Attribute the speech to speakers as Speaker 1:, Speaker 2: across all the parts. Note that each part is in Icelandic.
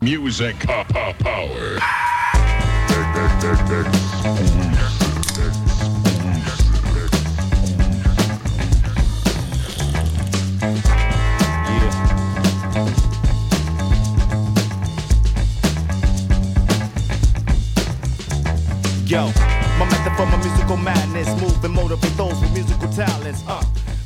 Speaker 1: Music po- po- power.
Speaker 2: Yo, my method for my musical madness, move and motivate those with musical talents. Uh,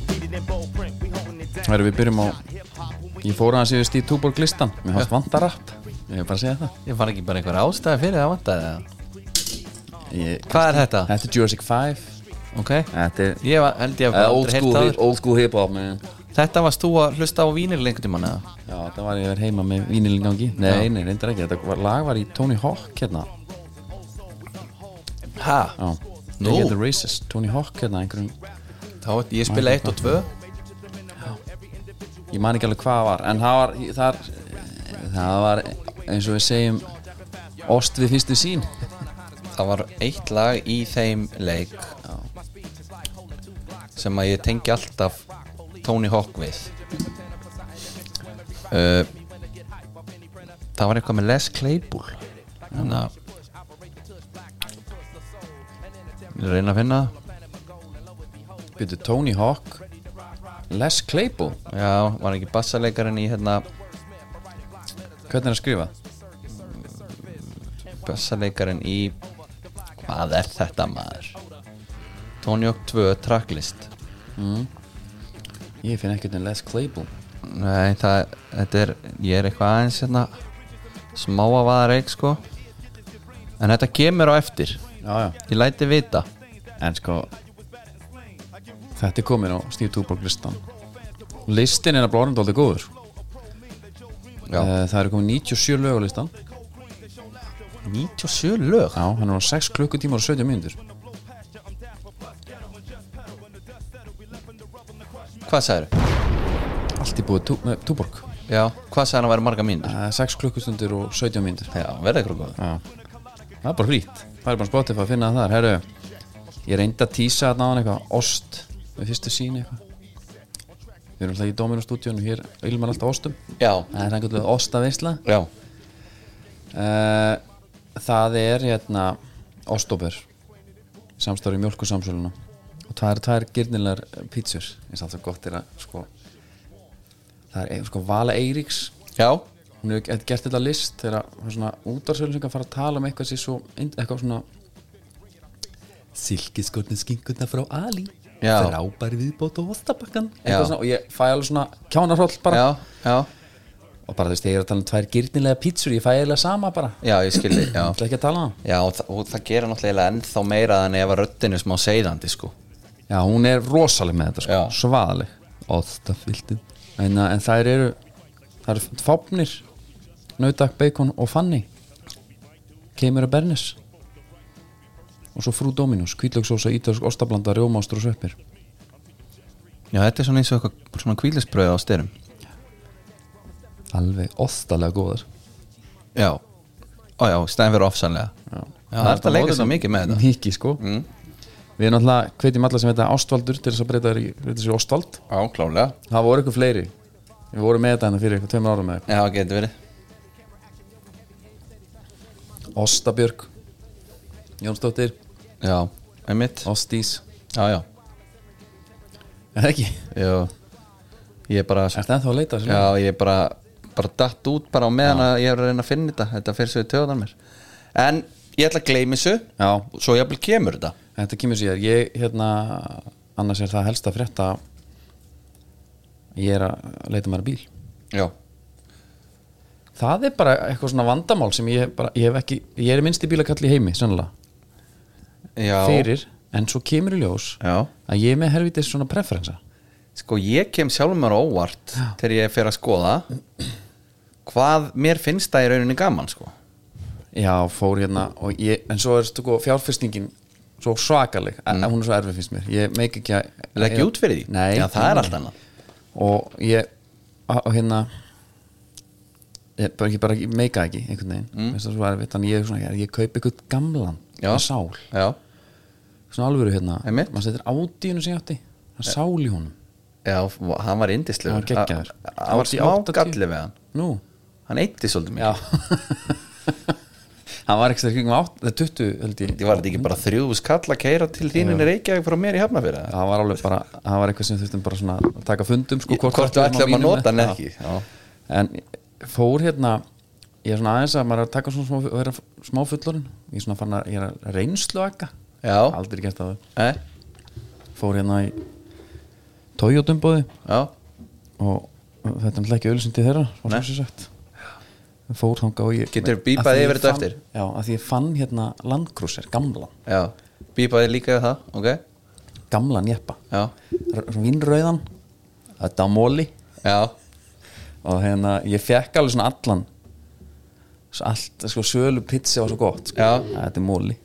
Speaker 2: read it in bold print, we holding it down.
Speaker 3: Herru, við byrjum á-
Speaker 2: Hip hop when we
Speaker 3: Ég fór aðeins yfir Steve Tuborg listan Mér fannst vanta rapp Ég er bara að segja það
Speaker 4: Ég fann ekki bara einhver ástæði fyrir það vantaði það
Speaker 3: ég,
Speaker 4: Hvað er þetta?
Speaker 3: Þetta er Jurassic 5
Speaker 4: Ok
Speaker 3: Þetta er
Speaker 4: Ég var, held ég
Speaker 3: uh,
Speaker 4: að
Speaker 3: old, school, hip- old school hip hop man.
Speaker 4: Þetta varst þú að hlusta á vínir lengur tíma neða
Speaker 3: Já, þetta var ég verið heima með vínilingangi Nei, nei, reyndar ekki Þetta var, lag var í Tony Hawk hérna
Speaker 4: Ha?
Speaker 3: Já
Speaker 4: Nú?
Speaker 3: They Get The Races Tony Hawk hérna einhverjum
Speaker 4: Þá veit ég spila 1 og 2
Speaker 3: Ég man ekki alveg hvað það var En það var þar, Það var eins og við segjum Ost við fyrstu sín
Speaker 4: Það var eitt lag í þeim leik sem að ég tengi alltaf Tony Hawk við uh, Það var eitthvað með Les Claypool Hérna. þannig að ég reyna að finna það.
Speaker 3: Byrju Tony Hawk Les Claypool
Speaker 4: Já, var ekki bassaleikarinn í hérna
Speaker 3: Hvernig er að skrifa?
Speaker 4: bassaleikarinn í hvað er þetta maður Tony Hawk 2 tracklist
Speaker 3: Ég finn ekkert en Les Claypool
Speaker 4: Nei, það, þetta er, ég er eitthvað aðeins hérna, smá að vaða reik sko En þetta kemur á eftir,
Speaker 3: Já, já
Speaker 4: ég læti vita
Speaker 3: En sko Þetta er komin á Steve Tuborg listan Listin er að blóðum dálítið góður
Speaker 4: Já,
Speaker 3: Eh, Það eru komin 97 lög á listan
Speaker 4: 97 lög
Speaker 3: Já, hann er á 6 klukkutímar og 17 mínútur
Speaker 4: Hvað sagði
Speaker 3: Allt í búið tú, með Tuborg
Speaker 4: Já, hvað sagði hann að vera marga mínútur?
Speaker 3: 6 Eh, klukkustundir og 17 mínútur
Speaker 4: Já, verða ykkur góð
Speaker 3: Já Það er bara frýtt Það er bara spotið að finna það þar Herru, ég reyndi að tísa að náðan eitthvað Ost Við fyrstu sín eitthvað Við erum alltaf í Dominus stúdíunum Hér ylmar alltaf ostum
Speaker 4: Já,
Speaker 3: Það er einhvern veginn osta veistla
Speaker 4: já,
Speaker 3: Eh, Það er hérna Óstóber Samstarfi mjölk og samsöluna Og það eru tvær gyrnilegar eh, pítsur eins og alltaf gott er að sko Það er eh, sko Vala Eiríks
Speaker 4: já,
Speaker 3: Hún hefur get- gert þetta list þegar hún svona útarsölun sem fara að tala um eitthvað sér svo ind- eitthvað svona Silkiskotni skinkunna frá Ali
Speaker 4: Já.
Speaker 3: Frábæri viðbót og ostabakkan
Speaker 4: Já.
Speaker 3: Eitthvað svona og ég fæ alveg svona kjánarhroll bara
Speaker 4: já, já,
Speaker 3: Og bara þú veist, ég er að tala um tvær gyrnilega pítsur Ég fæ eiginlega sama bara
Speaker 4: já, ég skildi, já
Speaker 3: Það er ekki að tala um það
Speaker 4: Já, og, þa og það gera náttúrulega ennþá meira þannig ef að röddinu smá seiðandi sko
Speaker 3: Já, hún er rosaleg með þetta sko,
Speaker 4: Já.
Speaker 3: svaðaleg Óttafildin en, eh, en þær eru, þær eru fápnir Nautak, Bacon og Fanny Kemur að Bernis Og svo Frú Dominus Kvítlöksósa, ítalsk, ostablanda, rjómaostur og sveppir
Speaker 4: Já, þetta er svona eins og eitthvað svona kvílisbröð á styrum
Speaker 3: Alveg óttalega góðar
Speaker 4: Já, ó já, stæðin verið ofsanlega Já, það er þetta að leika svo mikið með þetta Mm.
Speaker 3: Mikið sko Við erum alltaf, hvetjum alla sem heita Ástvaldur til þess að breyta þér í- breyta sér í Ástvald
Speaker 4: Já, klálega
Speaker 3: Það voru eitthvað fleiri Við vorum með þetta hérna fyrir eitthvað tveimur árum með
Speaker 4: Já, getur verið
Speaker 3: Ostabjörg Jónsdóttir
Speaker 4: Já, einmitt
Speaker 3: Ostís
Speaker 4: Já, já,
Speaker 3: Er það ekki?
Speaker 4: já Ég er bara
Speaker 3: Ertu ennþá að leita þessu?
Speaker 4: Já, ég er bara bara datt út bara á meðan að ég er að reyna að finna þetta Þetta fyrir svo í töðan mér En ég ætla að gleymi þessu
Speaker 3: Já.
Speaker 4: Svo jafnvel kemur þetta
Speaker 3: Þetta kemur sér Ég, hérna, annars er það helst að frétta Ég er að leita mér að bíl
Speaker 4: Já,
Speaker 3: Það er bara eitthvað svona vandamál sem ég bara, ég hef ekki Ég er minnst í bílakall í heimi, sannlega
Speaker 4: já
Speaker 3: Fyrir, en svo kemur í ljós
Speaker 4: Já
Speaker 3: Að ég er með herfitið svona preferensa
Speaker 4: Sko, ég kem sjálfur mér á óvart Þegar ég fer að skoða Hvað mér finnst það í rauninni gaman, sko
Speaker 3: Já, fór hérna og ég, En svo er sko fjárfestingin svo svakaleg mm. Hún er svo erfið finnst mér Ég meik ekki að
Speaker 4: Legg ég út fyrir því?
Speaker 3: Nei
Speaker 4: Já, það er allt annað
Speaker 3: og ég a- og hérna ég bara ekki, bara ekki, meika ekki einhvern veginn, mm. veist það svo erfitt þannig ég, er svona, ég, ég kaupi einhvern gamlan með sál,
Speaker 4: Já,
Speaker 3: svona alvöru hérna
Speaker 4: Einmitt.
Speaker 3: maður setur átíðinu sem ég átti það er sál í honum,
Speaker 4: já, hann var indislegur
Speaker 3: það var geggjaður
Speaker 4: Það var
Speaker 3: Átti
Speaker 4: smá
Speaker 3: 80.
Speaker 4: galli við hann
Speaker 3: nú,
Speaker 4: hann eitti svolítið mér
Speaker 3: Já Hann var ekki sér kringum átt, eða 20 held ég
Speaker 4: ég var þetta ekki bara þrjúðus kall að keira til þíninni Reykjavík frá mér í Hafnafjörða
Speaker 3: Það var alveg bara, það var eitthvað sem þurftum bara svona að taka fundum sko
Speaker 4: hvort, hvort þú
Speaker 3: við
Speaker 4: ætlum
Speaker 3: mínum
Speaker 4: að nota hann
Speaker 3: með-
Speaker 4: ekki já.
Speaker 3: En fór hérna Ég er svona aðeins að maður er að taka svona smá, vera smá fullorinn Ég er svona fann að, ég er að reynslu akka
Speaker 4: Já.
Speaker 3: Aldrei gert að það
Speaker 4: Eh,
Speaker 3: Fór hérna í Toyotumbóði
Speaker 4: já,
Speaker 3: og og þetta er náttúrulega ekki auðlýsing til þeirra var
Speaker 4: Nei.
Speaker 3: svo sem sagt. fór þangað og ég
Speaker 4: Geturðu
Speaker 3: að því
Speaker 4: bípað
Speaker 3: ég
Speaker 4: yfir þetta
Speaker 3: fann-
Speaker 4: eftir?
Speaker 3: já, að því ég fann hérna landkrúsir, gamlan
Speaker 4: já Bípaði líka við það, ok
Speaker 3: gamlan jeppa
Speaker 4: Já,
Speaker 3: R- svona vinnrauðan, þetta á móli
Speaker 4: já,
Speaker 3: og hérna, ég fekk alveg svona allan svo allt, sko, sölu pizza var svo gott sko.
Speaker 4: Já.
Speaker 3: þetta er móli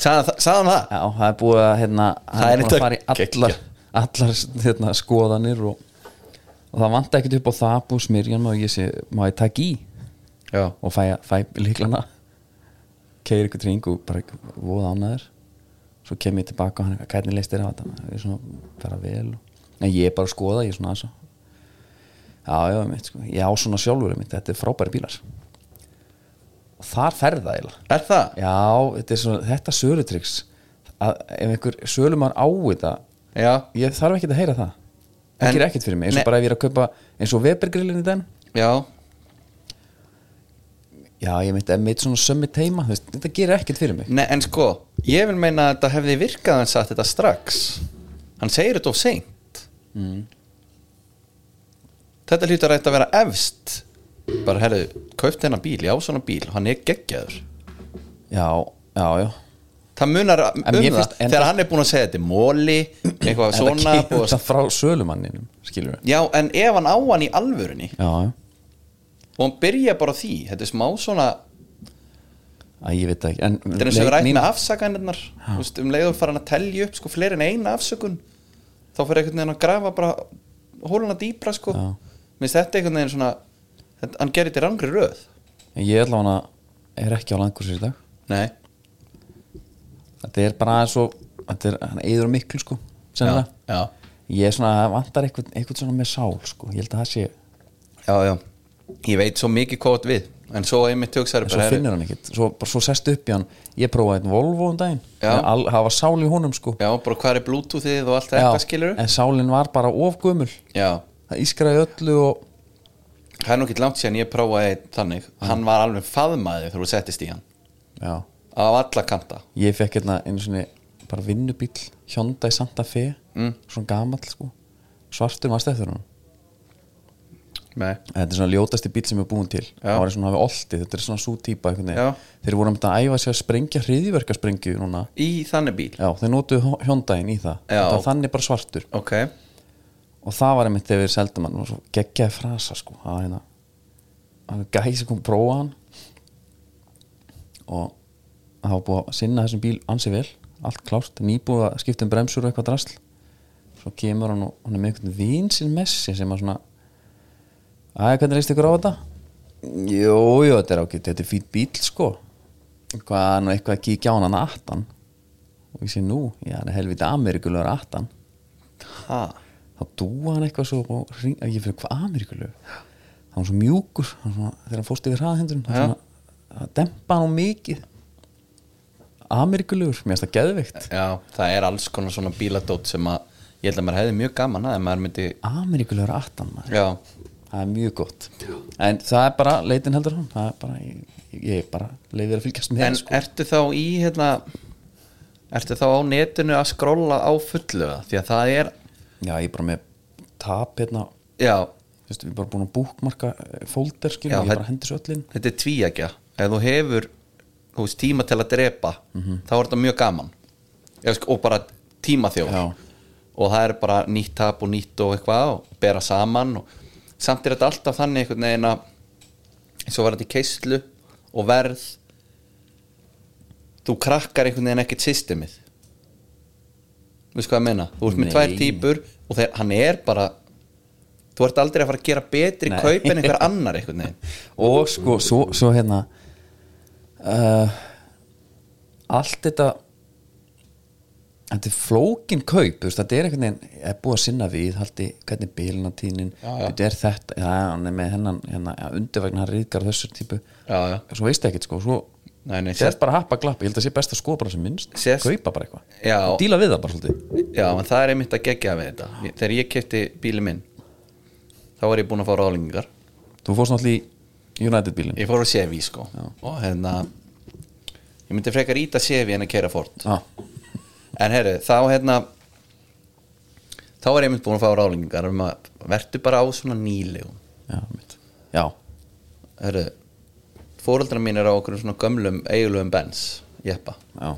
Speaker 4: sagði sagði hann það?
Speaker 3: já, það er búið að hérna, hann
Speaker 4: Það er
Speaker 3: er búið
Speaker 4: þetta
Speaker 3: að fara í allar, allar hérna, skoðanir og, og það vant ekkert upp á það búið smyrjan og ég sé, má ég taka í
Speaker 4: Já,
Speaker 3: og fæ, fæ líklana keir ykkur tring og bara voða ánæður svo kem ég tilbaka og hann eitthvað, hvernig leist þér á þetta ég er svona, fara vel og... en ég er bara að skoða, ég er svona aðsa já, já, mitt, sko. ég á svona sjálfur mitt, þetta er frábæri bílar og þar ferða eiginlega
Speaker 4: er það?
Speaker 3: já, þetta er svona, þetta sölutryggs að ef einhver sölumar á þetta
Speaker 4: Já,
Speaker 3: ég þarf ekkert að heyra það það
Speaker 4: En-
Speaker 3: gerir ekkert fyrir mig, eins
Speaker 4: Nei.
Speaker 3: og bara ef ég er að kaupa eins og Webergrillin í den
Speaker 4: já,
Speaker 3: Já, ég myndi að mitt svona sömmi teima þú veist, Þetta gerir ekkert fyrir mig
Speaker 4: Nei, en sko Ég vil meina að þetta hefði virkað að hann satt þetta strax Hann segir þetta of seint
Speaker 3: Mm.
Speaker 4: Þetta hlýtur rætt að vera efst Bara, herðu, kauft hennar bíl, já, svona bíl Hann er geggjaður
Speaker 3: Já, já, já
Speaker 4: Það munar um
Speaker 3: En
Speaker 4: það
Speaker 3: mér finnst- en
Speaker 4: Þegar
Speaker 3: það-
Speaker 4: hann er búin að segja þetta er móli Eitthvað
Speaker 3: En
Speaker 4: svona
Speaker 3: það
Speaker 4: búið
Speaker 3: kemur
Speaker 4: að-
Speaker 3: það frá sölumanninum Skilur við
Speaker 4: Já, en ef hann á hann í alvörunni
Speaker 3: Já, já
Speaker 4: Og hann byrja bara á því Þetta er smá svona
Speaker 3: Æ, ég veit það ekki En
Speaker 4: Þetta er eins og við
Speaker 3: leik
Speaker 4: rætt
Speaker 3: mín-
Speaker 4: með afsakanirnar Þú veist, um leiður farin að telja upp sko, fleiri en eina afsökun þá fyrir einhvern veginn að grafa bara hóluna dýpra sko.
Speaker 3: Já.
Speaker 4: minnst þetta einhvern veginn svona þetta, hann gerir þetta í rangri röð
Speaker 3: En Ég ætla hana Er ekki á landkursir í dag
Speaker 4: Nei.
Speaker 3: Þetta er bara aðeins og Þetta er hann eður og miklu sko Sennilega
Speaker 4: Já.
Speaker 3: Ég er svona það vantar eitthvað, eitthvað svona með sál sko Ég held að það sé En
Speaker 4: já, já Ég veit svo mikið hvað þú átt við en svo einmitt hugsaður
Speaker 3: svo finnur hann ekkert Svo, bara, svo sest upp í hann Ég prófaði einn Volvo um daginn
Speaker 4: Já.
Speaker 3: En al- Það var sál í honum sko
Speaker 4: Já, bara hvað er bluetoothið og allt
Speaker 3: Já,
Speaker 4: þetta skilur
Speaker 3: En sálin var bara ofgumul
Speaker 4: Já,
Speaker 3: Það ískraði öllu og
Speaker 4: það er nú ekki langt síðan ég prófaði einn þannig, hann var alveg faðmaði þegar þú settist í hann,
Speaker 3: Já
Speaker 4: af alla kanta
Speaker 3: Ég fekk hérna einu svona bara vinnubíl Hyundai Santa Fe
Speaker 4: Mm.
Speaker 3: svona gamall sko svartur maður stættur hann
Speaker 4: Nei.
Speaker 3: þetta er svona ljótasti bíl sem er búin til það var svona hafi oltið, þetta er svona svo típa einhvern
Speaker 4: Já.
Speaker 3: veginn. þeir voru einmitt að æfa sér að sprengja hriðiverkarsprengju núna
Speaker 4: Í þannig bíl
Speaker 3: já, þeir notuðu Hyundaiin í það
Speaker 4: Já.
Speaker 3: Þetta var þannig bara svartur
Speaker 4: Ok,
Speaker 3: og það var einmitt þegar við seldum hann og svo geggjaði frasa sko það var hérna hann gæði sem kom að prófa hann og það var búið að sinna þessum bíl ansi vel allt klárt, nýbúið að skipta um bremsur og eitthvað drasl svo kemur hann og hann er með einhvern vin sinn messi sem að svona aðeins hvernig reist ykkur á þetta jú, jú, þetta er ágætt, þetta er fýt bíl sko hvað, nú eitthvað að kíkja á hann hann aftan og ég sé nú, já, hann er helviti ameríkulegur aftan
Speaker 4: ha
Speaker 3: þá dúa hann eitthvað svo og hring, að ég fyrir hvað ameríkulegu það var svo mjúkur hann svona, þegar hann fórst yfir hraðhendurinn það
Speaker 4: Já.
Speaker 3: var svona- það dempa hann á mikið ameríkulegur, mér finnst það geðveikt
Speaker 4: Já, það er alls konar svona bíladót sem að ég held að maður hefði mjög gaman að ef maður myndi
Speaker 3: ameríkulegur aftan maður
Speaker 4: Já,
Speaker 3: það er mjög gott en það er bara, leitin heldur hann það er bara, ég, ég er bara leiðir að fylgjast með
Speaker 4: en
Speaker 3: sko.
Speaker 4: ertu þá í hérna ertu þá á netinu að skrolla á fullu það því að það er
Speaker 3: já, ég er bara með tap hérna
Speaker 4: Já,
Speaker 3: þú veist, við erum bara búin að eh, búkmarka fólder skil,
Speaker 4: Já,
Speaker 3: ég
Speaker 4: það-
Speaker 3: bara hendur svo öllin
Speaker 4: þetta er tvíækja ef þú hefur þú veist, tíma til að drepa
Speaker 3: Mhm.
Speaker 4: þá er þetta mjög gaman Ef, sko, og bara tíma þjóð
Speaker 3: Já.
Speaker 4: og það er bara nýtt tap og nýtt og eitthvað og bera saman og samt er þetta alltaf þannig einhvern veginn að eins og var þetta í keislu og verð þú krakkar einhvern veginn ekkert systemið veist hvað ég meina þú ert með
Speaker 3: Nei.
Speaker 4: tvær típur og þeir, hann er bara þú ert aldrei að fara að gera betri
Speaker 3: Nei.
Speaker 4: kaup en einhver annar einhvern veginn
Speaker 3: og sko, svo, svo hérna uh, allt þetta þetta er flókin kaup þú veist, þetta er einhvern veginn er búið að sinna við haldi, hvernig bilinatínin þetta er þetta, já, hann er með hennan hérna, ja, undirvegna hann ríðgar þessu típu
Speaker 4: Já, já.
Speaker 3: svo veistu ekkert sko svo
Speaker 4: Nei, nei,
Speaker 3: Sér bara happa glapp, ég held að sé best að skoða bara sem minnst
Speaker 4: Sérst-
Speaker 3: Kaupa bara eitthvað,
Speaker 4: Já.
Speaker 3: Og díla við það bara svolítið
Speaker 4: Já, en það er einmitt að gegja við þetta Ég- Þegar ég kefti bíli minn þá var ég búinn að fá ráðlingar
Speaker 3: Þú fórst náttúrulega í United bílinn
Speaker 4: Ég fór á Sevi sko og hérna ég myndi frekar íta Sevi en að kera fort
Speaker 3: Já,
Speaker 4: En herru, þá hérna þá var ég einmitt búinn að fá ráðlingar um að vertu bara á svona nýlegum
Speaker 3: já, mitt Já,
Speaker 4: Herru, fóreldrar mín er á okkur svona gömlum eigulugum bens, jeppa
Speaker 3: já,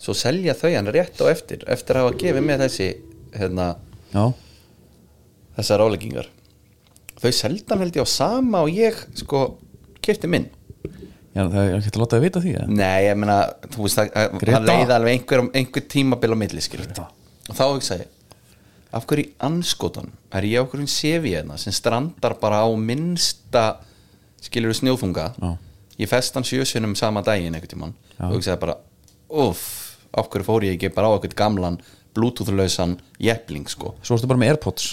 Speaker 4: Svo selja þau hann rétt á eftir eftir að hafa gefið mér þessi hérna,
Speaker 3: já,
Speaker 4: þessar áleggingar þau seldan held ég á sama og ég sko kipti minn
Speaker 3: já það er ekki hægt að láta þið vita því eða?
Speaker 4: nei, ég meina, þú veist að
Speaker 3: Greta.
Speaker 4: hann leiði alveg einhver, einhver tímabil á milli skilur
Speaker 3: Greta.
Speaker 4: og þá hugsa ég af hverju í anskotan er ég okkur hún sefi hérna sem strandar bara á minnsta skilur snjófunga
Speaker 3: Já.
Speaker 4: ég fest hann sjösunum sama daginn einhvern tímann
Speaker 3: Já.
Speaker 4: og hugsaði bara, uff af hverju fór ég ekki bara á eitthvað gamlan bluetoothlausan jeppling sko
Speaker 3: Svo ertu bara með Airpods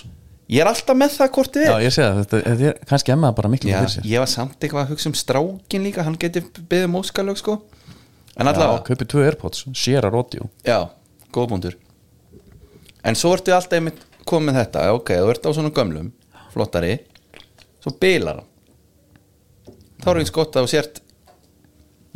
Speaker 4: ég er alltaf með það hvort þið er
Speaker 3: Já, ég sé það, þetta, þetta er kannski emmaða bara miklu
Speaker 4: Já,
Speaker 3: fyrir sér
Speaker 4: ég var samt eitthvað að hugsa um strákin líka hann geti beðið um óskalög sko en
Speaker 3: Já,
Speaker 4: allavega,
Speaker 3: kaupið tvö Airpods, Sierra Rodeo
Speaker 4: já, góðbúndur en svo ertu alltaf einmitt komið með þetta, ok, þú ert á svona gömlum flottari, svo bilar hann þá er eins gott að þú sért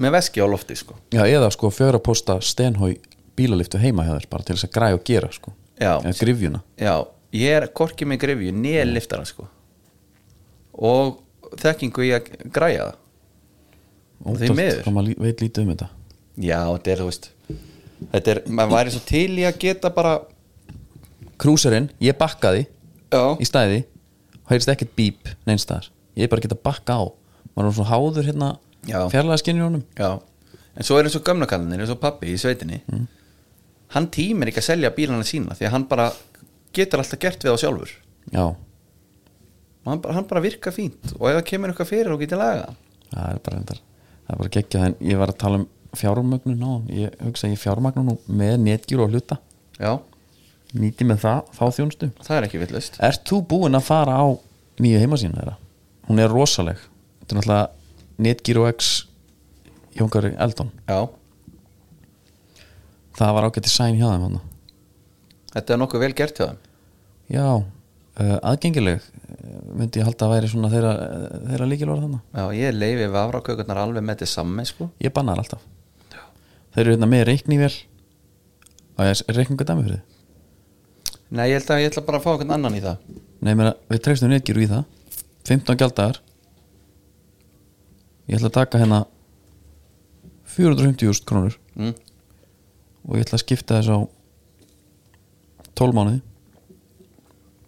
Speaker 4: með veski á lofti sko
Speaker 3: Já, eða sko fjöra posta Stenhói bílaliftu heima hjá þér bara til þess að græja og gera sko
Speaker 4: Já.
Speaker 3: Eða grifjuna
Speaker 4: já, ég er korki með grefju, nýja liftara sko og þekkingu í að græja það því miður.
Speaker 3: Ótrúlegt hvað maður lí- veit lítið um þetta
Speaker 4: já, þetta er, þú veist þetta er, maður væri svo til í að geta bara
Speaker 3: Krúserinn, ég bakkaði
Speaker 4: já,
Speaker 3: í stæði og heyrist ekkert bíp neinstæðar ég er bara að geta bakka á maður er svona háður hérna
Speaker 4: Já.
Speaker 3: fjarlæðaskinnir honum
Speaker 4: Já, en svo er eins og gömnakallinir eins og pappi í sveitinni hann tímir ekki að selja bílana sína því að hann bara getur alltaf gert við á sjálfur
Speaker 3: já,
Speaker 4: og hann bara, hann bara virka fínt og ef það kemur eitthvað fyrir og getur laga hann.
Speaker 3: það er bara endar það er bara geggjað en ég var að tala um fjármögnun á ég hugsa að ég fjármagnu nú með netgjur og hluta
Speaker 4: Já,
Speaker 3: nýti með það, þá þjónustu
Speaker 4: það er ekki villust
Speaker 3: Ert þú búinn að fara á nýju heimasínu þeirra? Hún er rosaleg Þetta er náttúrulega Netgyro X Jónkari Eldon
Speaker 4: Já,
Speaker 3: Það var ágætti sæn hjá þeim hann
Speaker 4: þetta er nokkuð vel gert hjá þeim
Speaker 3: Já, uh, aðgengileg uh, myndi ég halda að væri svona þeirra, uh, þeirra líkilvara þannig
Speaker 4: Já, ég leifi vafrakökurnar alveg með þetta samme sko
Speaker 3: Ég banna þær alltaf Þeir eru hérna með reiknivél og ég reikningu dæmi fyrir þið
Speaker 4: Nei, ég held að ég ætla bara að fá einhvern annan í það
Speaker 3: Nei, ég meina, við treystum Netgyro í það 15 gjaldagar Ég ætla að taka hérna 450.000 krónur
Speaker 4: mm.
Speaker 3: og ég ætla að skipta þess á 12 mánuði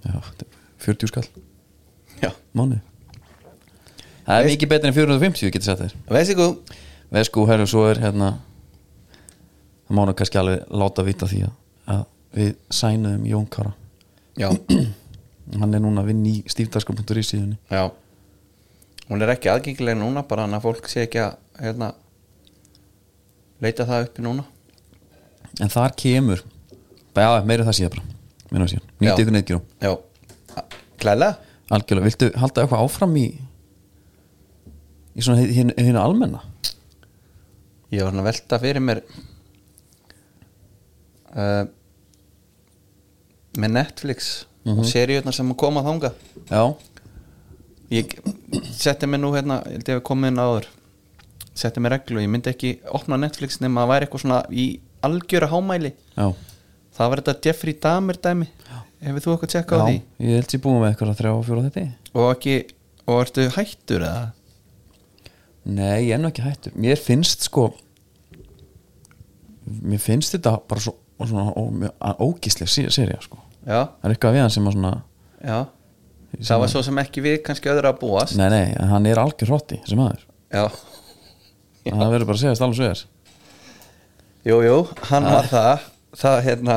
Speaker 3: já, þetta er 40 skall
Speaker 4: Já,
Speaker 3: mánuði það er mikið betur en 450 getur sett þér
Speaker 4: veist ykkur
Speaker 3: veð sko, herru, svo er hérna það mánu kannski alveg láta vita því að, að við sænuðum Jón Kára
Speaker 4: Já,
Speaker 3: hann er núna að vinna í stífdarskur.ri síðunni
Speaker 4: já Hún er ekki aðgengileg núna bara hann að fólk sé ekki að hérna, leita það uppi núna
Speaker 3: en þar kemur já, meira um það síðan bara meira um það síðan, nýtið
Speaker 4: Já.
Speaker 3: ykkur neitt
Speaker 4: Já, klæðlega
Speaker 3: algjörlega, viltu halda eitthvað áfram í í svona hinn hin almenna
Speaker 4: Ég var hann að velta fyrir mér uh, með Netflix
Speaker 3: Mhm.
Speaker 4: og seríurnar sem koma þanga
Speaker 3: já,
Speaker 4: Ég setti mér nú hérna, ég held ég að komið inn áður setti mér reglu, ég myndi ekki opna Netflix nema að væri eitthvað svona í algjöra hámæli
Speaker 3: já
Speaker 4: það var þetta Jeffrey Dahmer dæmi hefur þú eitthvað tjekkað á
Speaker 3: Já,
Speaker 4: því
Speaker 3: ég held ég búið með eitthvað að þrjá og fjóra þetta
Speaker 4: og ekki, og ertu hættur eða?
Speaker 3: Nei, ég er nú ekki hættur Mér finnst sko Mér finnst þetta bara svo og svona ó- mjög- að ógísleg sí- sería sko
Speaker 4: Já,
Speaker 3: Það er eitthvað við hann sem að svona
Speaker 4: já það var svo sem ekki við kannski öðru að búast
Speaker 3: Nei, nei, en hann er algjör hrotti sem aður
Speaker 4: Já,
Speaker 3: Það verður bara að segja þess alveg svo er
Speaker 4: jú, jú, hann var það það hérna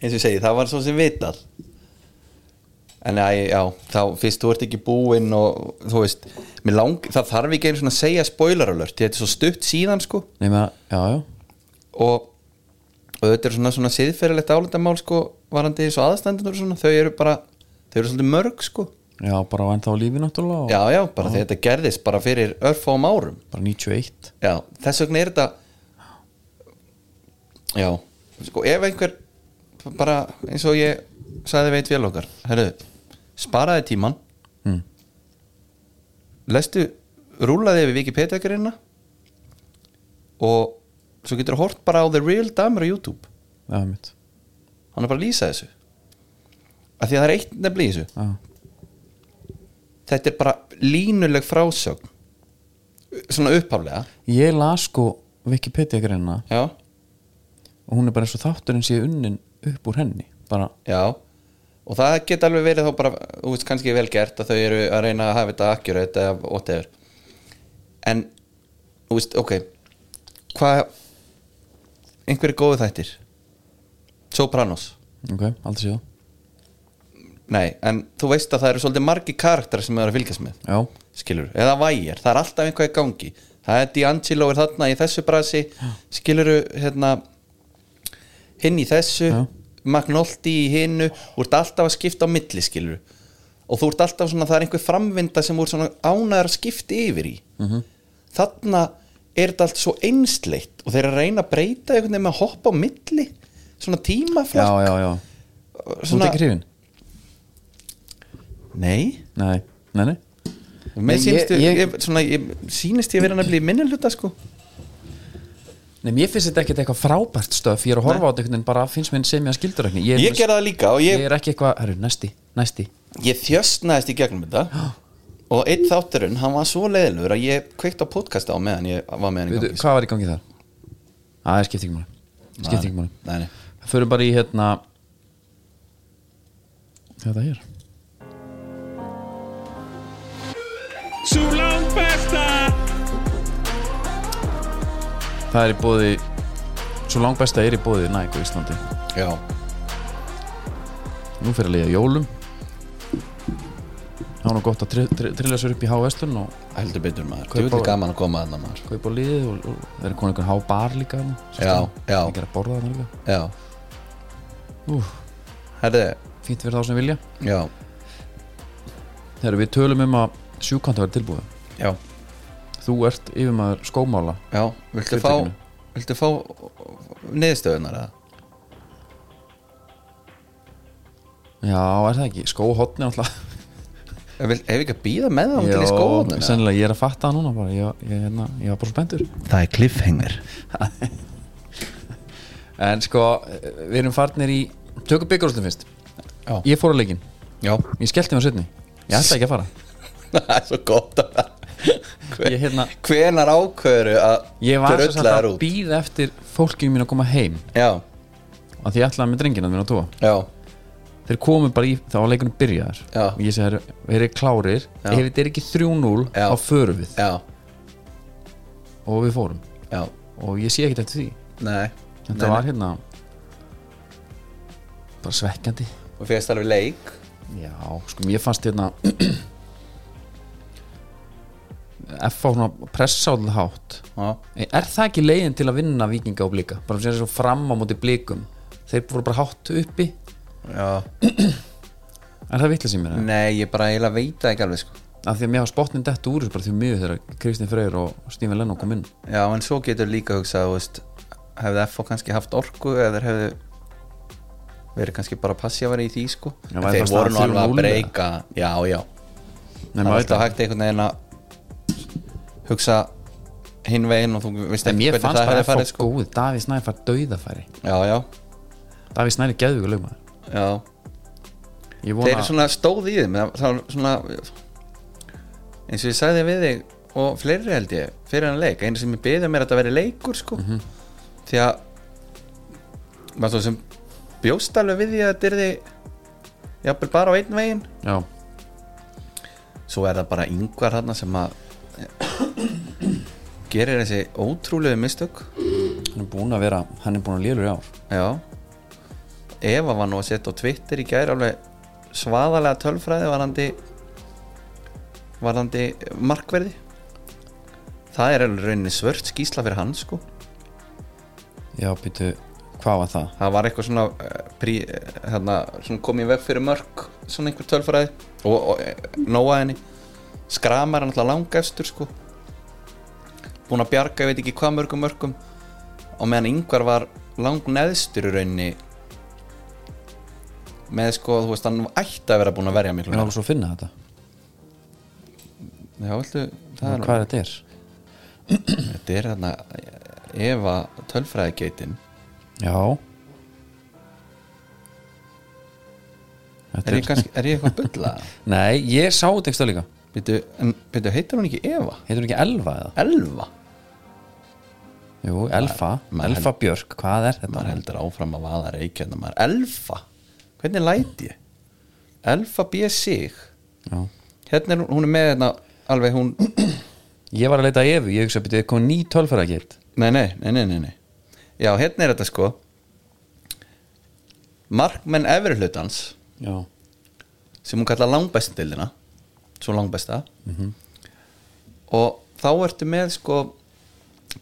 Speaker 4: eins og ég segi, það var svo sem vitað en æ, já þá fyrst þú ert ekki búinn og þú veist, mér lang, það þarf ekki einu svona að segja spoiler alert, því þetta er svo stutt síðan sko
Speaker 3: Nei, með að, já, já
Speaker 4: og, og og þetta er svona, svona siðferðilegt álitamál sko, varandi þessu aðstandendur og svona, þau eru bara, þau eru svolítið mörg sko
Speaker 3: Já, bara var ennþá á lífi náttúrulega og
Speaker 4: já, já, bara þegar þetta gerðist bara fyrir örfáum árum
Speaker 3: bara 91
Speaker 4: já, þess vegna er þetta já, sko ef einhver bara eins og ég sagði veit vel okkar herru, sparaði tíman
Speaker 3: Mm.
Speaker 4: lestu, rúlaði yfir Wikipedia-gerina og svo getur hort bara á The Real Dammer á YouTube
Speaker 3: Já, mitt
Speaker 4: hann er bara að lýsa þessu af því að það er eitt nefnilega í þessu
Speaker 3: Já,
Speaker 4: þetta er bara línuleg frásögn svona upphaflega
Speaker 3: Ég las sko Wikipedia greina
Speaker 4: já,
Speaker 3: og hún er bara eins og þátturinn sé unnin upp úr henni bara,
Speaker 4: já og það geta alveg verið þá bara þú veist kannski vel gert að þau eru að reyna að hafa þetta accurate eða whatever en, þú veist, ok hvað einhverju góðu þættir Sopranos
Speaker 3: ok, aldrei séð það.
Speaker 4: nei, en þú veist að það eru svolítið margi karakter sem það eru að fylgjast með
Speaker 3: Já,
Speaker 4: skilur, eða vægir, það er alltaf einhvað í gangi það er D'Angelo er þarna í þessu brasi skilur hérna hinn í þessu
Speaker 3: Já.
Speaker 4: Magnolti í hinnu þú ert alltaf að skipta á milli skilur og þú ert alltaf svona, það er einhver framvinda sem þú ert svona ánæður að skipta yfir í -hmm.
Speaker 3: Mhm.
Speaker 4: þarna er þetta allt svo einsleitt og þeir eru að reyna að breyta einhvern veginn með að hoppa á milli svona
Speaker 3: já,
Speaker 4: tímaflakk
Speaker 3: já, já Þú ert ekki hrifin?
Speaker 4: nei,
Speaker 3: Nei, nei, nei
Speaker 4: með
Speaker 3: Nei,
Speaker 4: sínist ég,
Speaker 3: ég-
Speaker 4: ég, svona, ég, sýnist ég vera nefnilega í minniluta sko
Speaker 3: Nei, mér finnst þetta ekkert eitthvað frábært stöf ég er að horfa á þetta einhvern veginn bara finnst mér sem ég að skildur ekki ég, er-
Speaker 4: ég gerði það líka og ég,
Speaker 3: ég er ekki eitthvað, herru, næsti, næsti
Speaker 4: ég þjöstnaðist í gegnum þetta og einn þátturinn, hann var svo leiðilur að ég kveikt á podcast á meðan ég var með hann í
Speaker 3: Veitu,
Speaker 4: gangi sko.
Speaker 3: hvað var í gangi þar? Æ, það skipti ekki máli skipti ekki máli
Speaker 4: Nei, nei.
Speaker 3: Það fyrir bara í hérna Þetta hér
Speaker 1: Sú langt besta
Speaker 3: Það er í bóði Svo langbesta er í bóði Nike á Íslandi
Speaker 4: Já.
Speaker 3: Nú fyrir að liða jólum Það var nú gott að tri- tri- trilla sér upp í H-Vestun og
Speaker 4: heldur betur maður,
Speaker 3: Kaupa-
Speaker 4: þú veitir gaman að koma að það maður
Speaker 3: kaupa liðið og, og það er komin einhvern H-bar líka þarna, sérst
Speaker 4: Já,
Speaker 3: það.
Speaker 4: já.
Speaker 3: Ekki er að borða það líka
Speaker 4: Já,
Speaker 3: Úf,
Speaker 4: herri,
Speaker 3: fínt fyrir þá sem vilja
Speaker 4: já,
Speaker 3: Þegar við tölum um að sjúkant að vera tilbúið
Speaker 4: já,
Speaker 3: Þú ert yfirmaður skómála
Speaker 4: já Viltu fá,
Speaker 3: Fyrirtækinu.
Speaker 4: viltu fá niðurstöðunar eða?
Speaker 3: Já, er það ekki? Skóhotni alltaf
Speaker 4: Ef vil- ef ekki að býða með það hún til í
Speaker 3: Já,
Speaker 4: skóðunar
Speaker 3: sennilega, ég er að fatta það núna bara Ég, ég, hérna, ég var bara spenntur
Speaker 4: Það er cliffhanger
Speaker 3: En sko, við erum farnir í Tökum byggarústum fyrst
Speaker 4: Já.
Speaker 3: Ég fór á leikinn,
Speaker 4: Já,
Speaker 3: ég skellti mig á setni Ég ætla ekki að fara
Speaker 4: það er svo gott að Hver,
Speaker 3: Ég, hérna-
Speaker 4: Hvenar ákveður að
Speaker 3: Ég var sem sagt
Speaker 4: drulla þær
Speaker 3: að
Speaker 4: út?
Speaker 3: býða eftir fólkinu mín að koma heim
Speaker 4: Já,
Speaker 3: Af því ég ætlaði með drengina mín að tóa
Speaker 4: já,
Speaker 3: Þeir komu bara í, þá var leikunum byrjaðar
Speaker 4: Já.
Speaker 3: Og ég segi, þeir eru klárir
Speaker 4: Já.
Speaker 3: Ef þetta er ekki 3-0,
Speaker 4: Já.
Speaker 3: þá förum við
Speaker 4: já,
Speaker 3: Og við fórum
Speaker 4: já
Speaker 3: Og ég sé ekkert eftir því
Speaker 4: Nei,
Speaker 3: Þetta
Speaker 4: Nei, nei.
Speaker 3: var hérna Bara svekkjandi
Speaker 4: og fegst alveg leik
Speaker 3: Já, sko, mér fannst hérna F á svona pressáðlega hátt
Speaker 4: já,
Speaker 3: Er það ekki leiðin til að vinna vikinga og blika? Bara sem svo fram á móti blikum Þeir voru bara hátt uppi
Speaker 4: já.
Speaker 3: Er það vitlega sem mér? Mm.
Speaker 4: nei, ég bara eiginlega veit það ekki alveg sko.
Speaker 3: Af því að mér var spotnin dett úr þessu bara því um miður þegar Kristinn Freyr og Stífin Lennon kom inn
Speaker 4: já, en svo getur líka hugsað þú veist, hefði FO kannski haft orku eða þeir hefðu verið kannski bara passífari í því sko.
Speaker 3: Já,
Speaker 4: En
Speaker 3: væri
Speaker 4: þeir
Speaker 3: fast
Speaker 4: voru
Speaker 3: að
Speaker 4: nú alveg að
Speaker 3: 3-0 eða?
Speaker 4: breyka já, já,
Speaker 3: Nei,
Speaker 4: það er
Speaker 3: maður veit
Speaker 4: alltaf
Speaker 3: það
Speaker 4: hægt einhvern veginn að hugsa hinn veginn og þú veist
Speaker 3: En
Speaker 4: ekki
Speaker 3: mér
Speaker 4: hvernig
Speaker 3: fannst
Speaker 4: það
Speaker 3: bara
Speaker 4: hefði
Speaker 3: F á
Speaker 4: farið sko.
Speaker 3: góð Davíð Snæði fær dauðafæri
Speaker 4: já, já,
Speaker 3: Davíð Snæði geðvíku lögmaður
Speaker 4: já
Speaker 3: Ég
Speaker 4: þeir
Speaker 3: vona
Speaker 4: eru svona stóð í þeim það það var svona eins og ég sagði við þig og fleiri held ég fyrir hann leik einu sem ég beðið mér að þetta veri leikur sko því að maður svo sem bjóst alveg við því að þetta er því jafnvel bara á einn veginn
Speaker 3: Já,
Speaker 4: svo er það bara yngvar þarna sem að gerir þessi ótrúlegu mistök
Speaker 3: hann er búin að vera Hann er búin að lélur í ár
Speaker 4: já Eva var nú að setja á Twitter í gær alveg svaðalega tölfræði varandi varandi markverði það er alveg rauninni svört skísla fyrir hann sko
Speaker 3: Já, býtu hvað var það?
Speaker 4: það var eitthvað svona, eh, prí, eh, þarna, svona komið veg fyrir mörg svona einhver tölfræði og, og eh, nóa henni skramar hann alltaf langastur sko búin að bjarga, ég veit ekki hvað mörgum mörgum og meðan yngvar var langneðstur í rauninni með sko, þú veist, hann ætti að vera búin að verja miklu
Speaker 3: Ég er
Speaker 4: meira.
Speaker 3: alveg svo að finna þetta
Speaker 4: Já, viltu, það er
Speaker 3: Hvað er þetta er?
Speaker 4: Þetta er þarna eh, Eva tölfræðigeitin
Speaker 3: Já Þetta
Speaker 4: Er ég, kannski, er ég eitthvað að bulla?
Speaker 3: Nei, ég sá þetta ekki líka
Speaker 4: Byrju, en byrju, heitir hún ekki Eva?
Speaker 3: Heitur hún ekki Elfa eða?
Speaker 4: Elva?
Speaker 3: Jú, Elfa,
Speaker 4: maður
Speaker 3: Elfa Björk, hvað er þetta?
Speaker 4: Maður heldur áfram að vaða reykjönda maður Elfa? Hvernig læti ég? Elfa B. Sig
Speaker 3: Já.
Speaker 4: Hérna er hún, hún er með hérna alveg hún
Speaker 3: Ég var að leita að Evu, ég hugsa að byrja eitthvað ný tölfæra gilt
Speaker 4: Nei, nei, nei, nei, nei, nei. Já, hérna er þetta sko Markmenn efri hlutans
Speaker 3: Já,
Speaker 4: sem hún kallar langbæstildina svo langbæsta og þá ertu með sko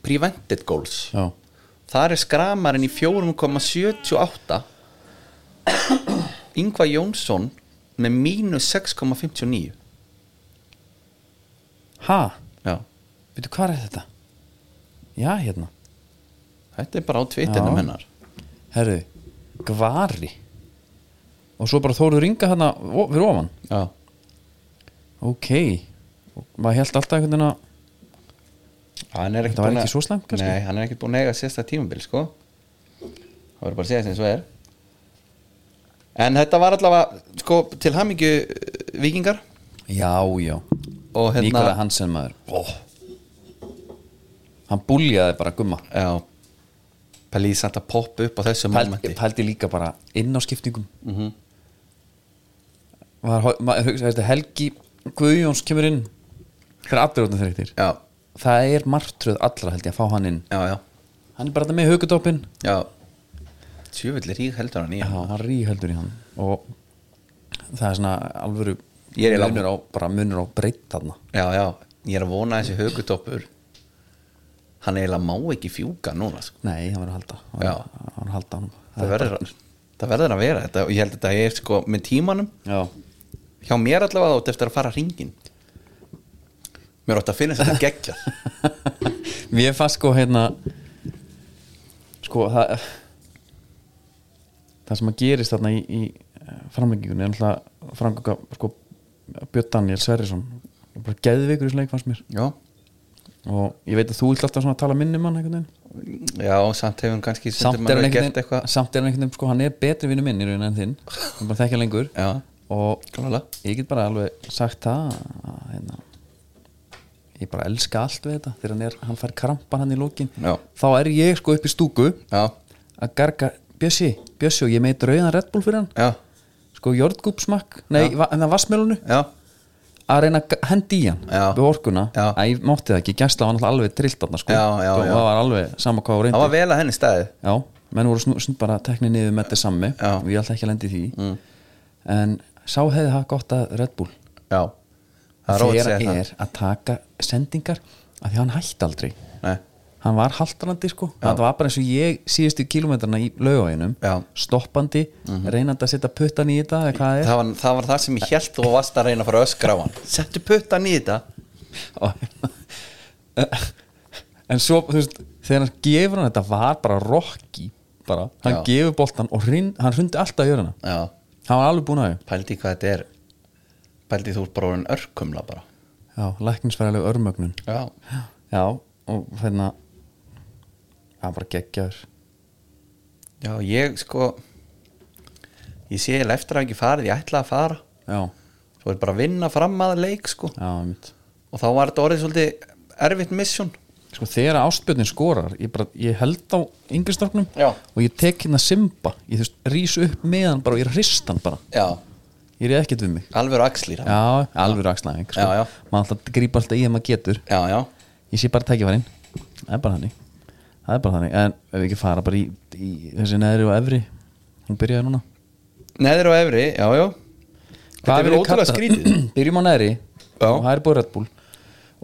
Speaker 4: prevented goals
Speaker 3: já,
Speaker 4: þar er skramarinn í 4,78 Ingvar Jónsson með mínus 6,59
Speaker 3: ha,
Speaker 4: já,
Speaker 3: byrju hvað er þetta? Já, hérna,
Speaker 4: þetta er bara á tvittinum
Speaker 3: Já.
Speaker 4: hennar
Speaker 3: herðu Gvari Og svo bara þóruður ringa hana fyrir ofan
Speaker 4: já,
Speaker 3: Ok, og maður held alltaf einhvern veginn að
Speaker 4: hann er ekkert
Speaker 3: Þetta var
Speaker 4: búinn
Speaker 3: ekki
Speaker 4: að-
Speaker 3: svo slæmt, kannski?
Speaker 4: nei, hann er ekkert búin að eiga sérsta tímabil sko það verður bara að segja sem svo er en þetta var allavega sko, til hamingju uh, vikingar
Speaker 3: Já, já, hérna...
Speaker 4: og hérna
Speaker 3: Nikola Hansen maður Hann búljaði bara gumma
Speaker 4: já Pæli samt að poppa upp á þessu
Speaker 3: pældi,
Speaker 4: momenti
Speaker 3: pældi líka bara inn á skiptingum mm
Speaker 4: Mhm.
Speaker 3: -hmm. Var, Helgi Guðjóns kemur inn Þegar allir átnum þeir eittir
Speaker 4: já,
Speaker 3: Það er martröð allra held ég að fá hann inn
Speaker 4: já, já,
Speaker 3: Hann er bara þetta með haukutoppin
Speaker 4: já tjöfulli rík heldur hann í
Speaker 3: Já,
Speaker 4: hann
Speaker 3: hann ríheldur í hann Og það er svona alvöru
Speaker 4: Ég er í
Speaker 3: munur á, bara munur á breytt þarna
Speaker 4: já, já, ég er að vona að þessi högutoppur hann eiginlega má ekki fjúka núna sko.
Speaker 3: Nei, hann verður að halda Hann
Speaker 4: Já.
Speaker 3: hann verður að halda hann
Speaker 4: það, verður, að- það verður að vera þetta og ég held að þetta er sko með tímanum
Speaker 3: Já,
Speaker 4: hjá mér allavega átt eftir að fara hringin mér átt að finna þetta geggja
Speaker 3: Mér fannst sko hérna sko það það sem að gerist þarna í, í framlengingunni er náttúrulega framgöka sko Björn Daniel Sverrisson bara geðveikur í þessu leik fannst mér
Speaker 4: já,
Speaker 3: og ég veit að þú vilt alltaf svona tala minni um hann einhvern veginn
Speaker 4: já, samt hefur hann kannski
Speaker 3: samt
Speaker 4: stundum
Speaker 3: er hann
Speaker 4: alveg
Speaker 3: einhvern
Speaker 4: gert
Speaker 3: veginn
Speaker 4: eitthvað
Speaker 3: samt er hann einhvern veginn sko hann er betri vinnu minn í raun en þinn hann bara þekkja lengur
Speaker 4: já,
Speaker 3: og
Speaker 4: klálega
Speaker 3: ég get bara alveg sagt það að, hérna, ég bara elska allt við þetta þegar hann, er, hann fær krampan hann í lókin
Speaker 4: Já.
Speaker 3: þá er ég sko upp í stúku
Speaker 4: já,
Speaker 3: að garga Bjössi, Bjössi og ég meit rauðan Red Bull fyrir hann
Speaker 4: já,
Speaker 3: sko jordgúpsmakk, nei, va en það vassmjölunu
Speaker 4: já
Speaker 3: að reyna að g- hendi í hann
Speaker 4: Já.
Speaker 3: við orkuna,
Speaker 4: Já.
Speaker 3: að ég mátti það ekki gæstla hann alveg trillt þarna sko
Speaker 4: Já, já,
Speaker 3: og
Speaker 4: já.
Speaker 3: það var alveg sama hvað á reyndi
Speaker 4: Það var vel að henni staðið
Speaker 3: já, menn voru snú, snú bara teknir niður með þetta sammi
Speaker 4: Já. Mm.
Speaker 3: og ég ætla ekki að lendi því en sá hefði það gott að Red Bull
Speaker 4: Já Það er rót að
Speaker 3: þegar
Speaker 4: segja
Speaker 3: er að taka sendingar af því að hann hætti aldrei
Speaker 4: það Nei,
Speaker 3: hann var haldrandi sko það var bara eins og ég síðustu kilómetrana í laugavæginum
Speaker 4: Já. Mhm.
Speaker 3: stoppandi, reynandi að setja puttan í þetta eða hvað það
Speaker 4: það, var, það var það sem ég hélt og varst að reyna að fara að öskra á hann Settu puttan í þetta
Speaker 3: er en svo þú veist, þegar hann gefur hann þetta var bara Rocky bara, hann
Speaker 4: Já.
Speaker 3: gefur boltan og hrinn, hann hrundi alltaf í jörðina
Speaker 4: Já,
Speaker 3: hann var alveg búin að
Speaker 4: pældi í hvað þetta er Pældi þú ert bara orðin örkumla bara
Speaker 3: þau læknisfærileg örmögnun
Speaker 4: Já
Speaker 3: já, og hérna það var bara geggjaður
Speaker 4: Já, ég sko Ég sé ég eftir að ekki farið, ég ætla að fara
Speaker 3: já,
Speaker 4: Svo er bara að vinna fram að leik sko
Speaker 3: já, mitt
Speaker 4: Og þá var þetta orðið svolítið erfitt mission
Speaker 3: sko þegar ástbjörnin skorar ég, bara, ég held á yngri stoknum
Speaker 4: Já.
Speaker 3: og ég tek hérna Simba ég þú veist, rís upp með hann bara og ég hrist hann bara
Speaker 4: Já,
Speaker 3: ég er ekkert við mig
Speaker 4: alveg axlir Já,
Speaker 3: já, alveg rakslæðing sko.
Speaker 4: Já, já.
Speaker 3: maður alltaf grípa alltaf í ef maður getur
Speaker 4: já, já,
Speaker 3: ég sé bara tækifærin það er bara þannig það er bara þannig en ef við ekki fara bara í, í þessi neðri og efri hún byrjaði núna
Speaker 4: Neður og efri, já, já Þetta er
Speaker 3: vil ég
Speaker 4: ótrúlega
Speaker 3: kalla-
Speaker 4: skrítið
Speaker 3: byrjum á neðri
Speaker 4: Já.
Speaker 3: og það er búið Red Bull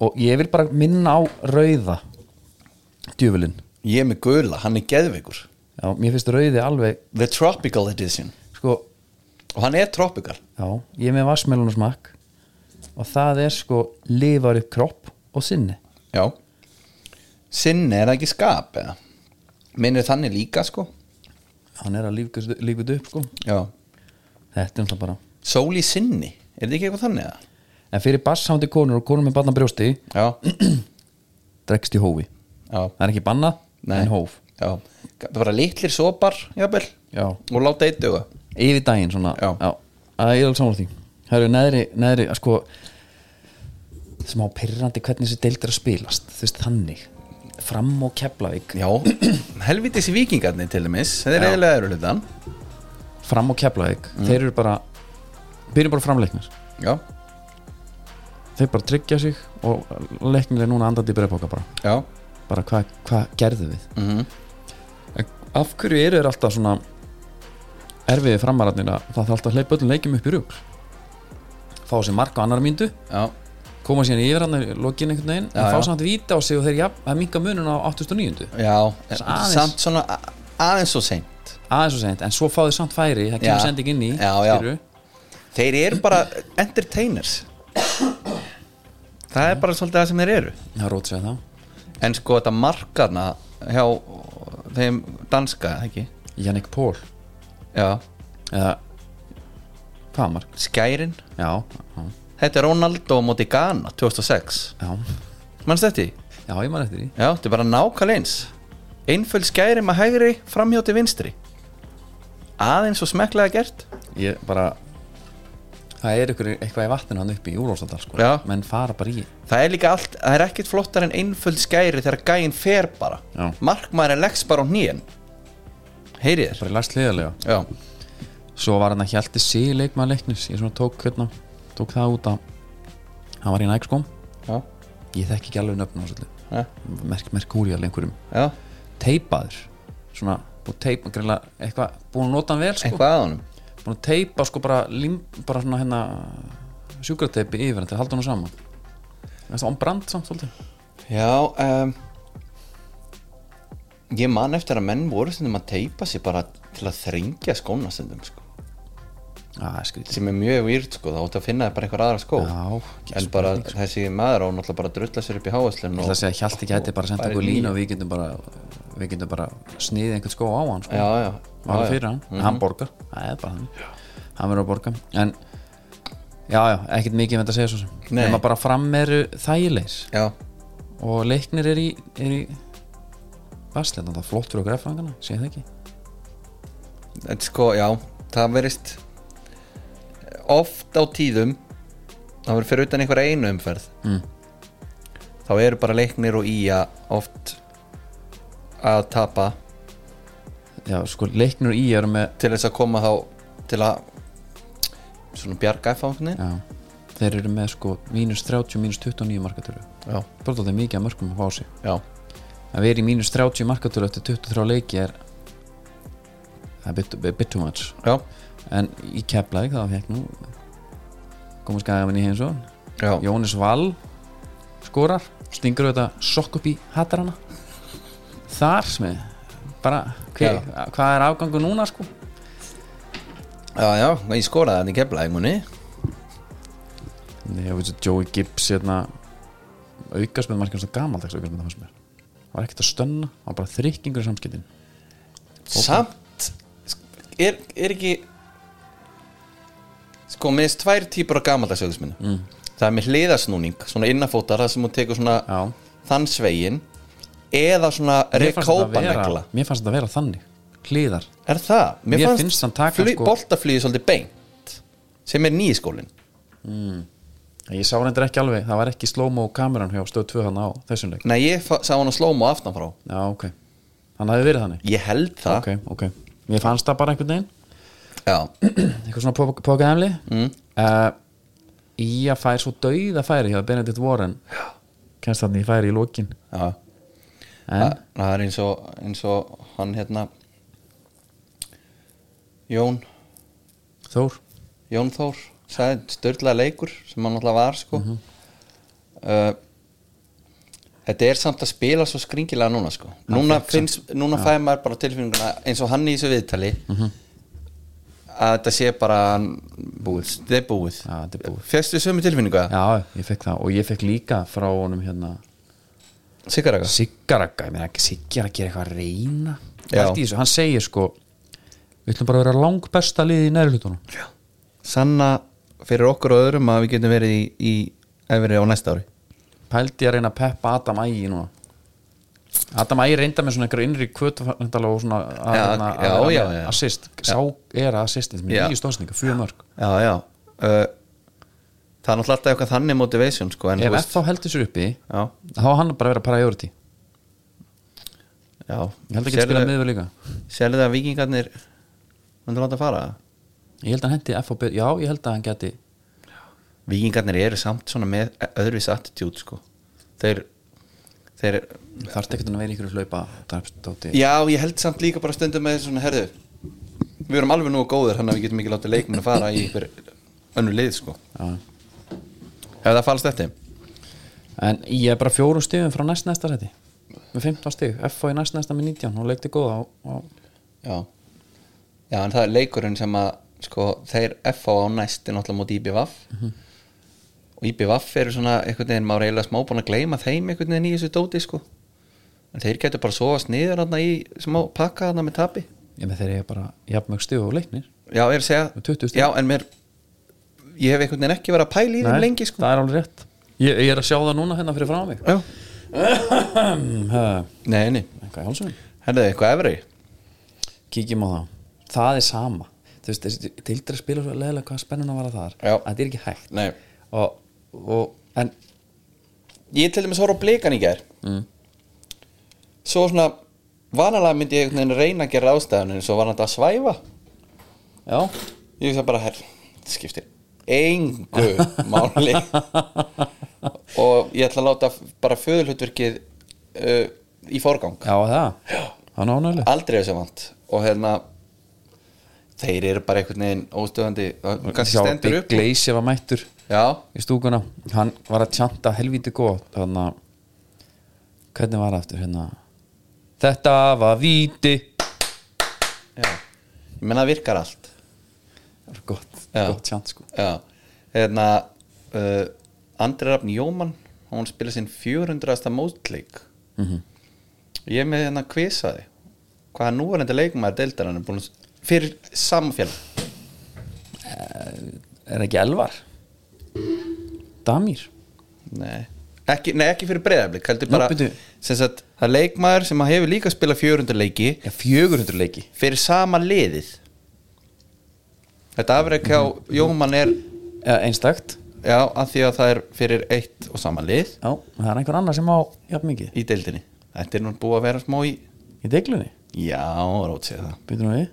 Speaker 3: og ég vil bara minna á rauða djöfulinn
Speaker 4: Ég er með gula, hann er geðveikur
Speaker 3: já, mér finnst rauði alveg
Speaker 4: The Tropical Edition
Speaker 3: sko,
Speaker 4: og hann er tropical
Speaker 3: já, ég er með vassmelunum smakk og það er sko lifar upp kropp og sinni
Speaker 4: já sinni er það ekki skap eða minnir þannig líka sko
Speaker 3: hann er að lífgast- lífið upp sko
Speaker 4: já
Speaker 3: þetta er náttúrulega bara
Speaker 4: sól í sinni er þetta ekki eitthvað þannig eða
Speaker 3: en fyrir bassándi konur og konur með barna brjósti
Speaker 4: já
Speaker 3: dregst í hófi
Speaker 4: já
Speaker 3: það er ekki banna,
Speaker 4: Nei.
Speaker 3: en hóf
Speaker 4: já það er bara litlir sopar jafnvel
Speaker 3: já,
Speaker 4: og láta eitt duga
Speaker 3: yfir daginn svona
Speaker 4: Já.
Speaker 3: að ég er alveg samar því það eru neðri, neðri að sko smá pyrrandi hvernig þessi deild er að spilast þú veist þannig fram og Keflavík
Speaker 4: já helvitis vikingarnir til dæmis það er
Speaker 3: Já.
Speaker 4: eiginlega eru hlutan
Speaker 3: fram og Keflavík,
Speaker 4: Mm.
Speaker 3: þeir eru bara byrjum bara framleiknir,
Speaker 4: já
Speaker 3: þeir bara tryggja sig og leiknir er núna andandi í breyfbóka bara,
Speaker 4: já
Speaker 3: bara hvað hva gerðu við
Speaker 4: mm
Speaker 3: en af hverju eru þeir alltaf svona erfiði framararnir að það þarf alltaf að hleypa öllum leikjum upp í rúk fá sér mark á annar myndu
Speaker 4: já
Speaker 3: koma síðan yfir hann í lokin einhvern veginn
Speaker 4: Já,
Speaker 3: en fá
Speaker 4: já.
Speaker 3: samt víta á sig og þeir jafn, að minka munun á 809
Speaker 4: já
Speaker 3: Þess aðeins.
Speaker 4: samt svona a- aðeins svo seint
Speaker 3: aðeins og seint, en svo fá þau samt færi það
Speaker 4: Já.
Speaker 3: kemur sending inn í
Speaker 4: Já, já.
Speaker 3: skilurðu.
Speaker 4: þeir eru bara entertainers það er bara svolítið það sem þeir eru
Speaker 3: það er rót segja það
Speaker 4: en sko þetta markarna hjá þeim danska eða ekki
Speaker 3: Jannik Pól
Speaker 4: já,
Speaker 3: eða hvað mark
Speaker 4: skærin
Speaker 3: já, já,
Speaker 4: þetta er Ronaldo á móti Ghana 2006
Speaker 3: já,
Speaker 4: mannst þetta í?
Speaker 3: já ég maður eftir því
Speaker 4: já, þetta er bara nákvæmlega eins einföld skærin með hægri framhjóti vinstri aðeins og smekklega gert
Speaker 3: ég bara það er ykkur eitthvað í vatninu hann uppi í Úrlófsdal sko.
Speaker 4: Já.
Speaker 3: menn fara bara í
Speaker 4: það er líka allt, það er ekkit flottar en einföld skæri þegar gæin fer bara
Speaker 3: Já.
Speaker 4: markmaðurinn leggs bara á hnýjan heyrið þér
Speaker 3: bara í læst liðarlega
Speaker 4: já,
Speaker 3: svo var hann að hjalti sig leikmaður leiknis ég svona tók hérna tók það út að hann var í nægskom
Speaker 4: já,
Speaker 3: ég þekki ekki alveg nöfnum á svolítið
Speaker 4: já,
Speaker 3: merk, merkúrial einhverjum
Speaker 4: já.
Speaker 3: teipaður svona og teipa greinlega eitthvað búin að nota hann vel sko
Speaker 4: eitthvað að honum
Speaker 3: búin að teipa sko bara lim, bara svona hérna sjúkrateipi yfir hann til að halda hann saman það er það ombrand samt svolítið
Speaker 4: Já um, Ég man eftir að menn voru stundum að teipa sig bara til að þringja skóna stundum sko.
Speaker 3: Já, það er skrítið
Speaker 4: sem er mjög výrt sko, þá áttu að finna þér bara einhver aðra skó
Speaker 3: Já, ekki
Speaker 4: en
Speaker 3: spurning, sko.
Speaker 4: bara þessi maður á náttúrulega bara að drulla sér upp í háaslun
Speaker 3: Ég ætla að segja að Hjalti gæti bara senda
Speaker 4: Bara
Speaker 3: einhver
Speaker 4: í
Speaker 3: línu og við getum bara við getum bara sniðið einhvern skó á hann sko.
Speaker 4: Já, já,
Speaker 3: var
Speaker 4: já, Mhm.
Speaker 3: fyrir
Speaker 4: já.
Speaker 3: hann, hann borgar það er bara hann, hann verður að borga en já, já, ekkert mikið með þetta að segja svo sem,
Speaker 4: Nei.
Speaker 3: nema bara fram eru þægilegir
Speaker 4: Já,
Speaker 3: og leiknir er í, er í Varsleitna, það er flott fyrir okkur efrangana, sé það ekki
Speaker 4: þetta sko, já það verist oft á tíðum þá verður fyrir utan einhver einu umferð
Speaker 3: Mm.
Speaker 4: þá eru bara leiknir og íja oft að tapa
Speaker 3: já, sko, leiknir í eru með
Speaker 4: til þess að koma þá til að svona bjarga F á einhvernig
Speaker 3: já, þeir eru með sko mínus 30, mínus 29 markatölu
Speaker 4: já,
Speaker 3: bara þetta er mikið að mörgum að fá á sig
Speaker 4: já,
Speaker 3: að vera í mínus 30 markatölu eftir 23 leiki er það er bit, bit, bit too much
Speaker 4: já,
Speaker 3: en í keflaði þá fekk nú komu skagaminni hins og
Speaker 4: já,
Speaker 3: Jónis Val skorar, stingur auðvitað sokk upp í hattarana þar sem er bara hver, hvað er afgangu núna sko
Speaker 4: já, já ég skoraði þannig kefla einhverni
Speaker 3: Nei, ég veit að Joey Gibbs hérna, aukast með markið gamaldags aukast með það fannst mér var ekkert að stönna, var bara þrykkingur í samskiptin
Speaker 4: samt er, er ekki sko, með þess tvær típur af gamaldagsauðisminu mm. það er með hliðasnúning, svona innafótar það sem hún tekur svona
Speaker 3: Já.
Speaker 4: þann svegin eða svona
Speaker 3: Mér fannst þetta vera-
Speaker 4: rekópanegla
Speaker 3: mér fannst þetta að vera þannig hliðar,
Speaker 4: Er það?
Speaker 3: Mér finnst hann taka,
Speaker 4: flu,
Speaker 3: sko-
Speaker 4: boltaflýði svolítið beint sem er nýskólin
Speaker 3: ég sá reyndir ekki alveg það var ekki slow-mo kameran hjá stöð 2 hann á þessum leik,
Speaker 4: Nei, ég fa- sá hann að slóma aftan frá
Speaker 3: já ok hann hafði verið þannig,
Speaker 4: Ég held það
Speaker 3: ok, ok mér fannst það bara einhvern veginn
Speaker 4: Já,
Speaker 3: eitthvað svona pókaðemli mm. uh, í að færi svo dauða færi hjá Benedikt Warren kennst þannig í færi í lokin
Speaker 4: já.
Speaker 3: en,
Speaker 4: Það, það er eins og, eins og hann hérna Jón
Speaker 3: Þór,
Speaker 4: Jón Þór
Speaker 3: Mhm.
Speaker 4: sagði störla leikur sem hann alltaf var sko mm -hmm. Uh, þetta er samt að spila svo skringilega núna sko. núna,
Speaker 3: fékk
Speaker 4: finnst, núna fæði maður bara tilfinninguna eins og hann í þessu viðtali
Speaker 3: Mhm.
Speaker 4: að þetta sé bara búið, þetta er búið,
Speaker 3: Já, þetta er búið.
Speaker 4: fjöstu sömu tilfinninga
Speaker 3: Já, ég fekk það og ég fekk líka frá honum hérna
Speaker 4: sigaraka
Speaker 3: Siggaraka, ég meina ekki Siggi er að gera eitthvað að reyna
Speaker 4: Já.
Speaker 3: Allt í þessu, hann segir sko Við ætlum bara að vera langbesta liðið í næri hlutunum
Speaker 4: sanna fyrir okkur og öðrum að við getum verið í, í efri á næsta ári
Speaker 3: Pældi ég að reyna að peppa Adam Ægi núna Adam Ægi reynda með svona einhverja innri kvöt og svona að,
Speaker 4: Já,
Speaker 3: hérna,
Speaker 4: já,
Speaker 3: að,
Speaker 4: já,
Speaker 3: að,
Speaker 4: já.
Speaker 3: assist, sá er að assistin sem
Speaker 4: Já.
Speaker 3: er nýju stóðsninga, fyrir mörg
Speaker 4: já, já uh, það er náttúrulega alltaf eitthvað þannig motivation sko, en, þú
Speaker 3: Ef
Speaker 4: veist,
Speaker 3: FH heldur sér uppi
Speaker 4: já,
Speaker 3: þá á hann bara að vera priority ég
Speaker 4: já
Speaker 3: held ekki að
Speaker 4: Sérðu-
Speaker 3: spila miður líka
Speaker 4: Sérðu það að vikingarnir myndu láta fara það?
Speaker 3: ég held að hann hendi FH betur, já ég held að hann geti
Speaker 4: Vikingarnir eru samt svona með öðruvis attitude sko Þeir, þeir
Speaker 3: þarf ekki að vera ykkur hlaupa drapsdóti
Speaker 4: Já, ég held samt líka bara stundum með svona herðu Við erum alveg nú góður hann að við getum ekki látið leikmenn að fara í einhver önnu lið sko
Speaker 3: Já.
Speaker 4: Ef það falast eftir
Speaker 3: En ég er bara fjórum stigum frá næst næsta seti með 15 stig, FH í næst næsta með 19 og leikti góða á, á
Speaker 4: Já Já, en það er leikurinn sem að sko, þeir FA á næst er náttúrulega móti IBVF
Speaker 3: Mhm.
Speaker 4: og IBVF eru svona einhvern veginn, maður er eiginlega smá búin að gleyma þeim einhvern veginn í þessu dóti sko en þeir getur bara sofast niður hann í smá pakka hann með tapi
Speaker 3: ég með þeir ég bara jafnmög stig og leiknir
Speaker 4: Já, ég er að
Speaker 3: Með
Speaker 4: segja
Speaker 3: 20 stig.
Speaker 4: Já, en mér ég hef einhvern veginn ekki verið að pæla í þeim lengi sko
Speaker 3: það er alveg rétt ég, ég er að sjá það núna hérna fyrir frá mig
Speaker 4: Já,
Speaker 3: Huh,
Speaker 4: nei, nei,
Speaker 3: Um, eitthvað í hálsum
Speaker 4: hérna eitthvað efri
Speaker 3: kíkjum á það, það er sama þú veist, þessi tildra spila svo leðilega hvað spennun að vara þar
Speaker 4: Já.
Speaker 3: að þetta er ekki hægt
Speaker 4: Nei
Speaker 3: og, og, en
Speaker 4: Ég til dæmis horf á blikan í gær Svo svona vanalega myndi ég einhvern veginn reyna að gera ástæðan en svo var hann þetta að svæfa
Speaker 3: já,
Speaker 4: Ég hugsa bara, herr, þetta skiptir engu máli og ég ætla að láta bara föðulhutverkið uh, í forgang
Speaker 3: já það það er nánaðileg
Speaker 4: aldrei þessu vant og hérna þeir eru bara einhvern veginn óstöðandi og kannski stendur upp og-
Speaker 3: Gleisi var mættur
Speaker 4: já,
Speaker 3: í stúkuna hann var að tjanta helvíti gott þannig að hvernig var það aftur hérna þetta var víti
Speaker 4: já ég menna það virkar allt
Speaker 3: það var gott,
Speaker 4: Já.
Speaker 3: gott tjant sko
Speaker 4: já, hérna uh, Andri Rafn Jóman hún spila sinn 400. mótleik ég er með hérna kvisaði hvað nú er þetta leikmaður deildar hann er búin að fyrir samfélag
Speaker 3: er ekki elvar Damir
Speaker 4: Nei, ekki, nei, ekki fyrir breyðablik heldur bara,
Speaker 3: byrju.
Speaker 4: sem sagt, það er leikmaður sem að hefur líka spilað 400 leiki
Speaker 3: já, 400 leiki
Speaker 4: fyrir sama liðið Þetta afrek hjá Jóman er,
Speaker 3: eða einstakt
Speaker 4: já, að því að það er fyrir eitt og sama lið
Speaker 3: já, það er einhver annar sem á jafn mikið
Speaker 4: í deildinni Þetta er nú búið að vera smá í
Speaker 3: í deglunni
Speaker 4: Já, rót sér það
Speaker 3: byrjum við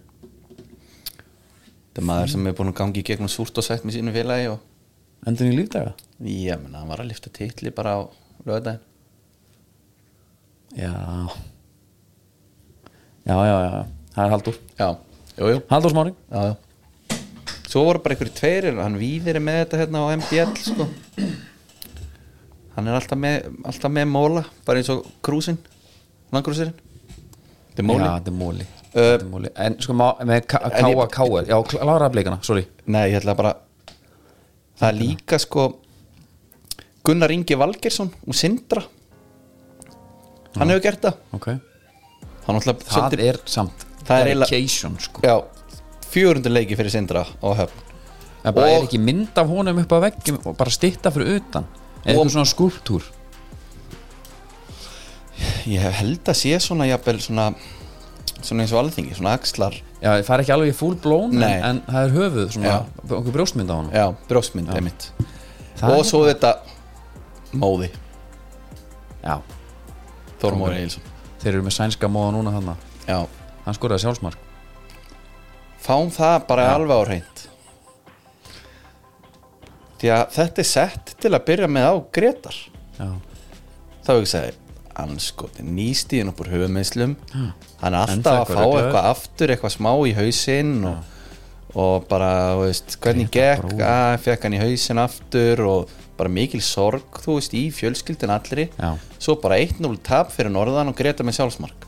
Speaker 4: Þetta er maður sem er búin að gangi í gegnum súrt og sætt með sínu félagi og
Speaker 3: endur í lífdaga
Speaker 4: Já, menna, hann var að lifta titli bara á lögðaðin
Speaker 3: já já, já, já, það er Haldur
Speaker 4: Já, jú, jú
Speaker 3: Haldur Smári
Speaker 4: já, já. svo voru bara einhverju tveirir hann víðir er með þetta hérna á MBL sko. hann er alltaf með, alltaf með móla bara eins og krúsin langkrúsirinn þetta er móli
Speaker 3: já, þetta er Móli,
Speaker 4: Uh,
Speaker 3: Þetta er móli. en sko, má- með K- K.A. K.R. já, klára bleikana, sorry
Speaker 4: nei, ég ætla bara það er líka sko Gunnar Ingi Valgersson og Sindra hann hefur gert það
Speaker 3: okay.
Speaker 4: hann alltaf,
Speaker 3: það er samt
Speaker 4: Það er eiginlega-
Speaker 3: dedication sko
Speaker 4: já, 400 leiki fyrir Sindra á höfn
Speaker 3: það bara
Speaker 4: Og-
Speaker 3: er ekki mynd af honum upp á veggjum og bara stitta fyrir utan eða
Speaker 4: Og-
Speaker 3: eitthvað svona skúptúr
Speaker 4: ég held að sé svona jafnvel svona svona eins og alþingi, svona axlar
Speaker 3: já, það er ekki alveg í full blown
Speaker 4: Nei.
Speaker 3: en, en það er höfuð svona,
Speaker 4: Já.
Speaker 3: okkur brjóstmynd á honum
Speaker 4: Já, hérna- brjóstmynd, einmitt
Speaker 3: Það
Speaker 4: Og
Speaker 3: er-
Speaker 4: svo þetta Móði,
Speaker 3: já,
Speaker 4: Þormóri Eilsson
Speaker 3: þeir eru með sænska móða núna hann
Speaker 4: Já,
Speaker 3: hann skoraði sjálfsmark
Speaker 4: fáum það bara alveg á reynd Því að þetta er sett til að byrja með á Gretar
Speaker 3: já,
Speaker 4: Þá hefur ég sko, sagði Anskoti, nýstíðin upp úr höfumiðslum Hann er
Speaker 3: En
Speaker 4: alltaf
Speaker 3: það
Speaker 4: að
Speaker 3: er
Speaker 4: fá
Speaker 3: rugglaður.
Speaker 4: eitthvað aftur Eitthvað smá í hausinn og, og bara, þú veist, hvernig
Speaker 3: Grétar
Speaker 4: gekk Ah,
Speaker 3: bróðir.
Speaker 4: að, Fekk hann í hausinn aftur Og bara mikil sorg, þú veist, í fjölskyldin allri
Speaker 3: Já.
Speaker 4: svo bara 1-0 tap fyrir norðan og greta með sjálfsmark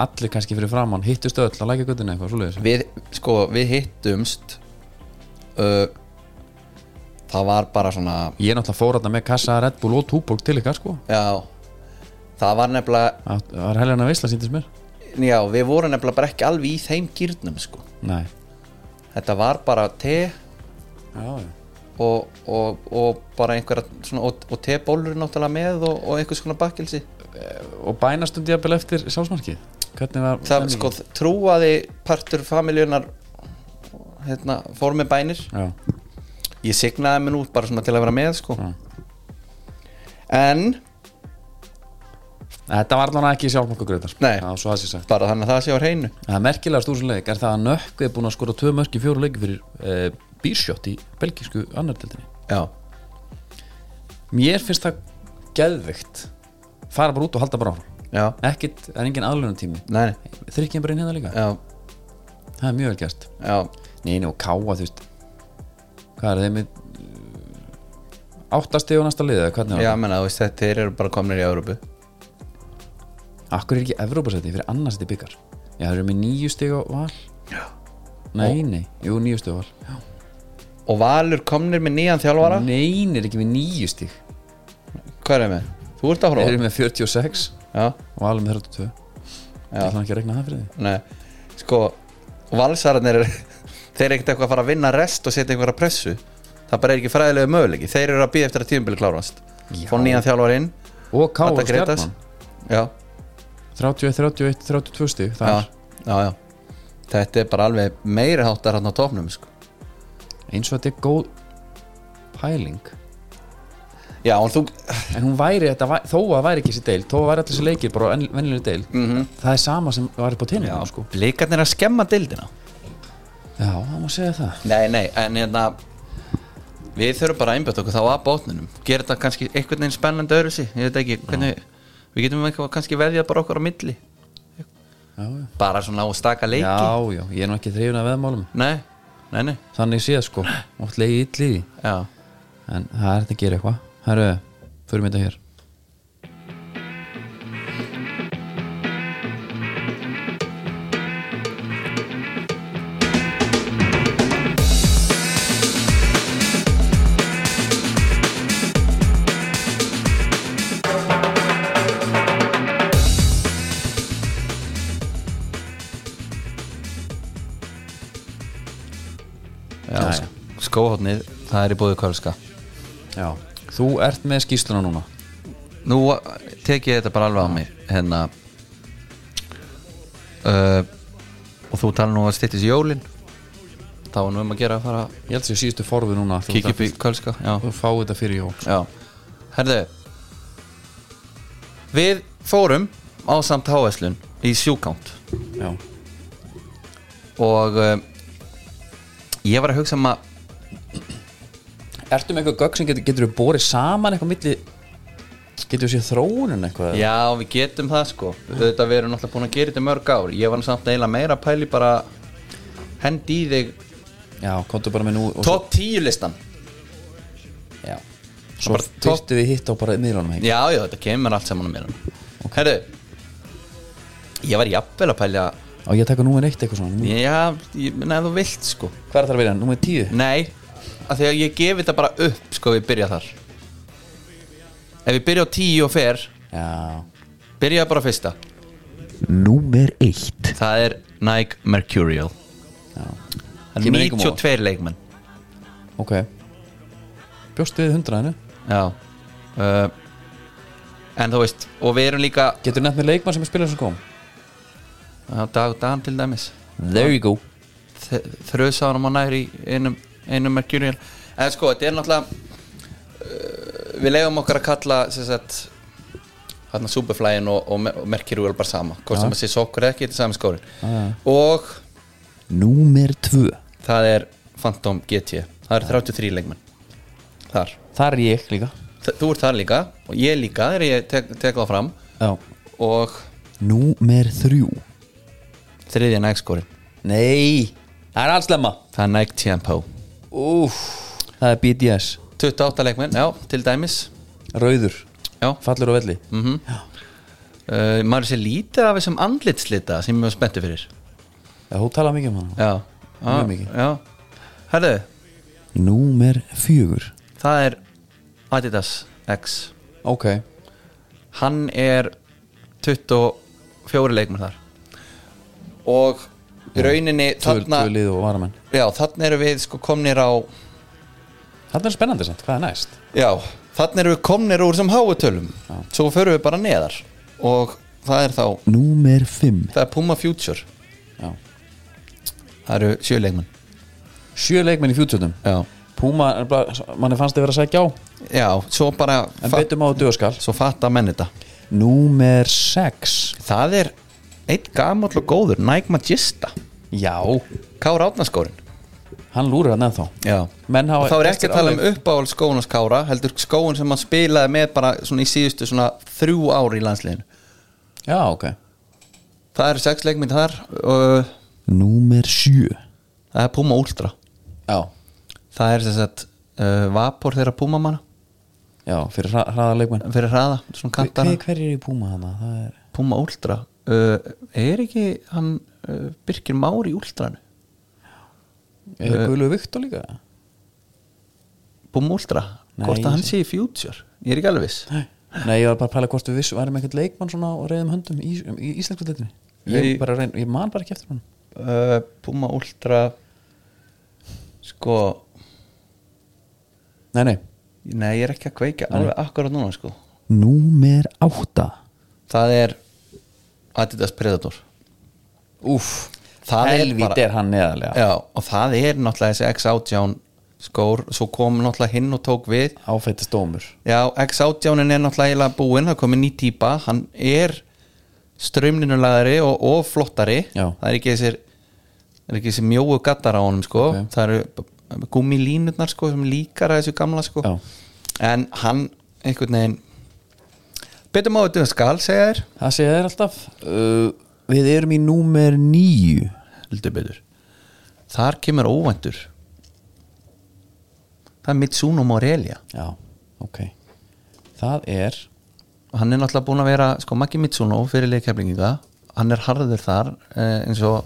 Speaker 3: allir kannski fyrir framann, hittust öll að lækja göttinu eitthvað svoleiðis
Speaker 4: við, sko, við hittumst uh, það var bara svona
Speaker 3: ég er náttúrulega fór þarna með kassa Red Bull og Túborg til ykkar sko
Speaker 4: já, það var nefnilega
Speaker 3: Að- það var helgina veisla síndist mér
Speaker 4: já, við vorum nefnilega bara ekki alveg í þeim gýrnum sko.
Speaker 3: nei,
Speaker 4: þetta var bara te
Speaker 3: já, já.
Speaker 4: og, og, og bara einhverja svona, og, og tebólur náttúrulega með og, og einhvers konar bakkilsi
Speaker 3: og bænastum djafnvel eftir sjálfsmarkið hvernig var
Speaker 4: það
Speaker 3: stemningin?
Speaker 4: sko trúaði partur familjunar hérna, fór með bænir
Speaker 3: já,
Speaker 4: ég signaði mér út bara svona til að vera með sko.
Speaker 3: Já.
Speaker 4: en
Speaker 3: þetta var allavega ekki sjálfsmarkagröðar
Speaker 4: Nei.
Speaker 3: já, svo það sé sagt
Speaker 4: bara þannig að það sé á hreinu
Speaker 3: það er merkilegast úr þessum leik er það að Nökkvi er búin að skora tvö mörki fjóru leiki fyrir e, býrsjótt í belgísku annardildinni
Speaker 4: já,
Speaker 3: mér finnst það geðvikt fara bara út og halda bara ára
Speaker 4: já,
Speaker 3: ekkit, það er engin aðlunum tími
Speaker 4: nei, nei,
Speaker 3: þrykkjum bara inn hérna líka,
Speaker 4: já,
Speaker 3: það er mjög vel gert
Speaker 4: já
Speaker 3: Neini og Káa þú veist Hvað er þeim með Áttasti og næsta liðið Hvernig var
Speaker 4: já,
Speaker 3: það?
Speaker 4: menna, þú veist, þetta eru bara komnir í Európu
Speaker 3: Akkur er ekki Evrópasetti fyrir annars þetta byggar Já það eru með nýju stig á val Nei, nei, jú nýju stig á val
Speaker 4: og Valur komnir með nýjan þjálfara
Speaker 3: Nei, nei, er ekki með nýju stig
Speaker 4: hvað er með? þú ert að
Speaker 3: Þeir
Speaker 4: horfa
Speaker 3: eru með 46
Speaker 4: já,
Speaker 3: og valum með 32 Ég ætla ekki að regna það fyrir þið
Speaker 4: nei, sko valsararnir eru þeir eru ekkert eitthvað að fara að vinna rest og setja einhverja pressu það bara er ekki fræðilegu möguleiki þeir eru að býja eftir að tíðumbili klárast
Speaker 3: Já.
Speaker 4: fór nýjan þjálfara inn
Speaker 3: Og Káa
Speaker 4: Þetta
Speaker 3: og
Speaker 4: Grétars.
Speaker 3: Stjarnan
Speaker 4: já,
Speaker 3: 31, 31, 32 stig Það
Speaker 4: já, já, já þetta er bara alveg meiri háttar hann á topnum sko.
Speaker 3: er eins og þetta er góð pæling
Speaker 4: já, og þú
Speaker 3: En hún væri, þetta, væ- þó að væri ekki þessi deil Þó að væri allir þessi leikir bara vennilega deil -hmm. Það er sama sem var upp á
Speaker 4: Mhm. já,
Speaker 3: tinnum sko.
Speaker 4: blikarnir að skemma dildina
Speaker 3: Já, það má segja það
Speaker 4: nei, nei, en hérna við þurfum bara að einbjöta okkur þá að bótnunum gera þetta kannski einhvern veginn spennandi öðru ég veit ekki, hvernig, við getum eitthvað kannski veðjað bara okkur á milli
Speaker 3: Já, já,
Speaker 4: bara svona á staka leiki
Speaker 3: já, já ég er nú ekki þrifin að veðmálum
Speaker 4: nei, nei, nei,
Speaker 3: Þannig séð sko, oft leiði illi í því.
Speaker 4: já
Speaker 3: En það er þetta að gera eitthvað Herru, förum við þetta hér
Speaker 4: Já,
Speaker 3: Jæja.
Speaker 4: sk- skóhornið, það er í búið kölska
Speaker 3: Já, þú ert með skýsluna núna
Speaker 4: Nú tek ég þetta bara alveg á mig Hérna uh, Og þú tala nú að styttis jólin Þá er nú um að gera að fara að
Speaker 3: Ég held sér síðustu forfið núna þú
Speaker 4: Kíkja
Speaker 3: ert
Speaker 4: upp í
Speaker 3: að-
Speaker 4: kölska Já,
Speaker 3: Þú fá þetta fyrir jól
Speaker 4: já Herðu Við fórum á samt háeslun Í sjúkánt
Speaker 3: Já,
Speaker 4: Og uh, Ég var að hugsa um að
Speaker 3: Ertu með eitthvað gögg sem getur, getur við borið saman eitthvað milli Getur við séð þróunin eitthvað
Speaker 4: Já, við getum það sko Þetta við erum náttúrulega búin að gera þetta í mörg ár Ég var nú samt eiginlega meira að pæli bara Hendi í þig
Speaker 3: Já, komdu bara með nú og
Speaker 4: Top 10 listan
Speaker 3: svo, Já Svo
Speaker 4: bara topp-
Speaker 3: fyrstu við hitt á bara miðlunum ekki
Speaker 4: Já, já, þetta kemur allt saman á mér okay. Herru Ég var jafnvel að pælja
Speaker 3: Á ég að taka númer eitt eitthvað svona númer-
Speaker 4: Já, ég, neða þú vilt sko
Speaker 3: Hvað er það að vera? Númer tíu?
Speaker 4: Nei, af því að ég gefi þetta bara upp Sko, ef ég byrja þar Ef ég byrja á 10 og fer
Speaker 3: Já
Speaker 4: Byrja bara á fyrsta
Speaker 5: Númer eitt
Speaker 4: Það er Nike Mercurial Það
Speaker 3: Kemur
Speaker 4: er
Speaker 3: engum á óvart.
Speaker 4: 92 leikmenn
Speaker 3: Ok Bjóstu við hundraðinu
Speaker 4: Já uh, En þú veist Og við erum líka
Speaker 3: Getur nefnt með leikmann sem er spilað sem kom
Speaker 4: á Dag og Dan til dæmis
Speaker 3: There you go
Speaker 4: Þrösa hann á næri í einum, einum Mercurial En sko, þetta er náttúrulega uh, Við leiðum okkar að kalla sem sagt Þarna Superflyin og, og, Me- og Mercurial bara sama Hvort sem að sé sokkur eða ekki, þetta er sami skóri Og
Speaker 5: Númer tvö
Speaker 4: það er Phantom GT Það eru 33 leikmenn Þar
Speaker 3: Það er ég líka
Speaker 4: Þ- Þú ert þar líka og ég líka þegar ég tek, tek það fram
Speaker 3: Já
Speaker 4: og
Speaker 5: Númer þrjú
Speaker 4: þriðja nægskórin
Speaker 3: Nei Það er allslemma
Speaker 4: Það er Nike Tempo
Speaker 3: Úf Það er BDS
Speaker 4: 28 leikmenn, já, til dæmis
Speaker 3: Rauður,
Speaker 4: Já,
Speaker 3: fallur á velli mm.
Speaker 4: uh, maður sé lítið af þessum andlitslita sem ég var spenntu fyrir
Speaker 3: Þú tala mikið um hana
Speaker 4: Já,
Speaker 3: Mjög
Speaker 4: Já,
Speaker 3: mikið.
Speaker 4: Já, herðu,
Speaker 5: Númer fjögur
Speaker 4: það er Adidas X
Speaker 3: Ok,
Speaker 4: Hann er 24 leikmenn þar Og í rauninni
Speaker 3: tvö
Speaker 4: þarna,
Speaker 3: tvö lið og varamenn
Speaker 4: já, þarna erum við sko komnir á
Speaker 3: Þetta er spennandi samt, hvað er næst?
Speaker 4: Já, þarna erum við komnir úr sem háutölum Svo förum við bara neðar Og það er þá
Speaker 5: Númer fimm
Speaker 4: Það er Puma Future
Speaker 3: Já.
Speaker 4: Það eru sjöleikmenn
Speaker 3: Sjö leikmenn í fjútsöndum
Speaker 4: Já,
Speaker 3: Púma, er bara- manni fannst þið vera að segja á
Speaker 4: já svo bara
Speaker 3: En
Speaker 4: fa-
Speaker 3: betur má þú dugaskal
Speaker 4: Svo fatta menn þetta
Speaker 5: Númer sex
Speaker 4: Það er eitt gamall og góður Nike Magista
Speaker 3: Já,
Speaker 4: Kára Átnaskórin
Speaker 3: hann lúrir hann ennþá
Speaker 4: Já
Speaker 3: Menn hafa
Speaker 4: Þá er ekki að tala um uppáhald skóun og skára heldur skóun sem hann spilaði með bara svona í síðustu svona þrjú ári í landsliðinu
Speaker 3: Já, ok
Speaker 4: Það eru sex leikmynd þar og uh,
Speaker 5: Númer sjö
Speaker 4: það er Puma Ultra
Speaker 3: Já,
Speaker 4: Það er sem sagt uh, vapor þeirra Puma manna
Speaker 3: já fyrir hra, hraða leikmenn
Speaker 4: fyrir hraða, svona kantana
Speaker 3: hver, hver er í Púma hana? Það er
Speaker 4: Puma Ultra uh, Er ekki hann uh, Birkir Már í Ultranu?
Speaker 5: Eh.
Speaker 3: Er Guðlu Viktor líka?
Speaker 4: Puma Ultra?
Speaker 3: Nei,
Speaker 4: Hvort
Speaker 3: ég
Speaker 4: að hann
Speaker 3: sé-
Speaker 4: sé í Future? Ég er ekki alveg viss
Speaker 3: Nei, ég var bara að pæla hvort við vissu Varum einhvern leikmann svona á reyðum höndum í, í íslensku deildinni ég,
Speaker 4: Nei.
Speaker 3: bara reyn, ég man bara ekki eftir hann
Speaker 4: uh, Puma Ultra sko
Speaker 3: Nei, nei,
Speaker 4: nei, ég er ekki að kveika alveg akkurat núna sko
Speaker 5: Númer átta
Speaker 4: það er Adidas Predator
Speaker 3: úff
Speaker 4: það
Speaker 3: Helvít er hann neðarlega
Speaker 4: já, og það er náttúrulega þessi X-18 skór, svo kom náttúrulega hinn og tók við
Speaker 3: Áfættist dómur
Speaker 4: já, X-18 er náttúrulega eiginlega búinn það komið ný típa, hann er strömlinulagari og, og flottari
Speaker 3: Já.
Speaker 4: það er ekki þessir það er ekki þessi mjóu gattar á honum sko
Speaker 3: Ok.
Speaker 4: það eru gummilínurnar sko sem líkar að þessu gamla sko
Speaker 3: Já.
Speaker 4: en hann einhvern veginn betur maður þetta um skal segja þér
Speaker 3: Það segja þér alltaf
Speaker 5: uh, Við erum í númer níu
Speaker 4: heldur betur þar kemur óvæntur það er Mitsuno Morelia
Speaker 3: Já, ok Það er
Speaker 4: hann er náttúrulega búin að vera sko Maggi Mitsuno fyrir leikjaflinginga hann er harður þar eh, eins og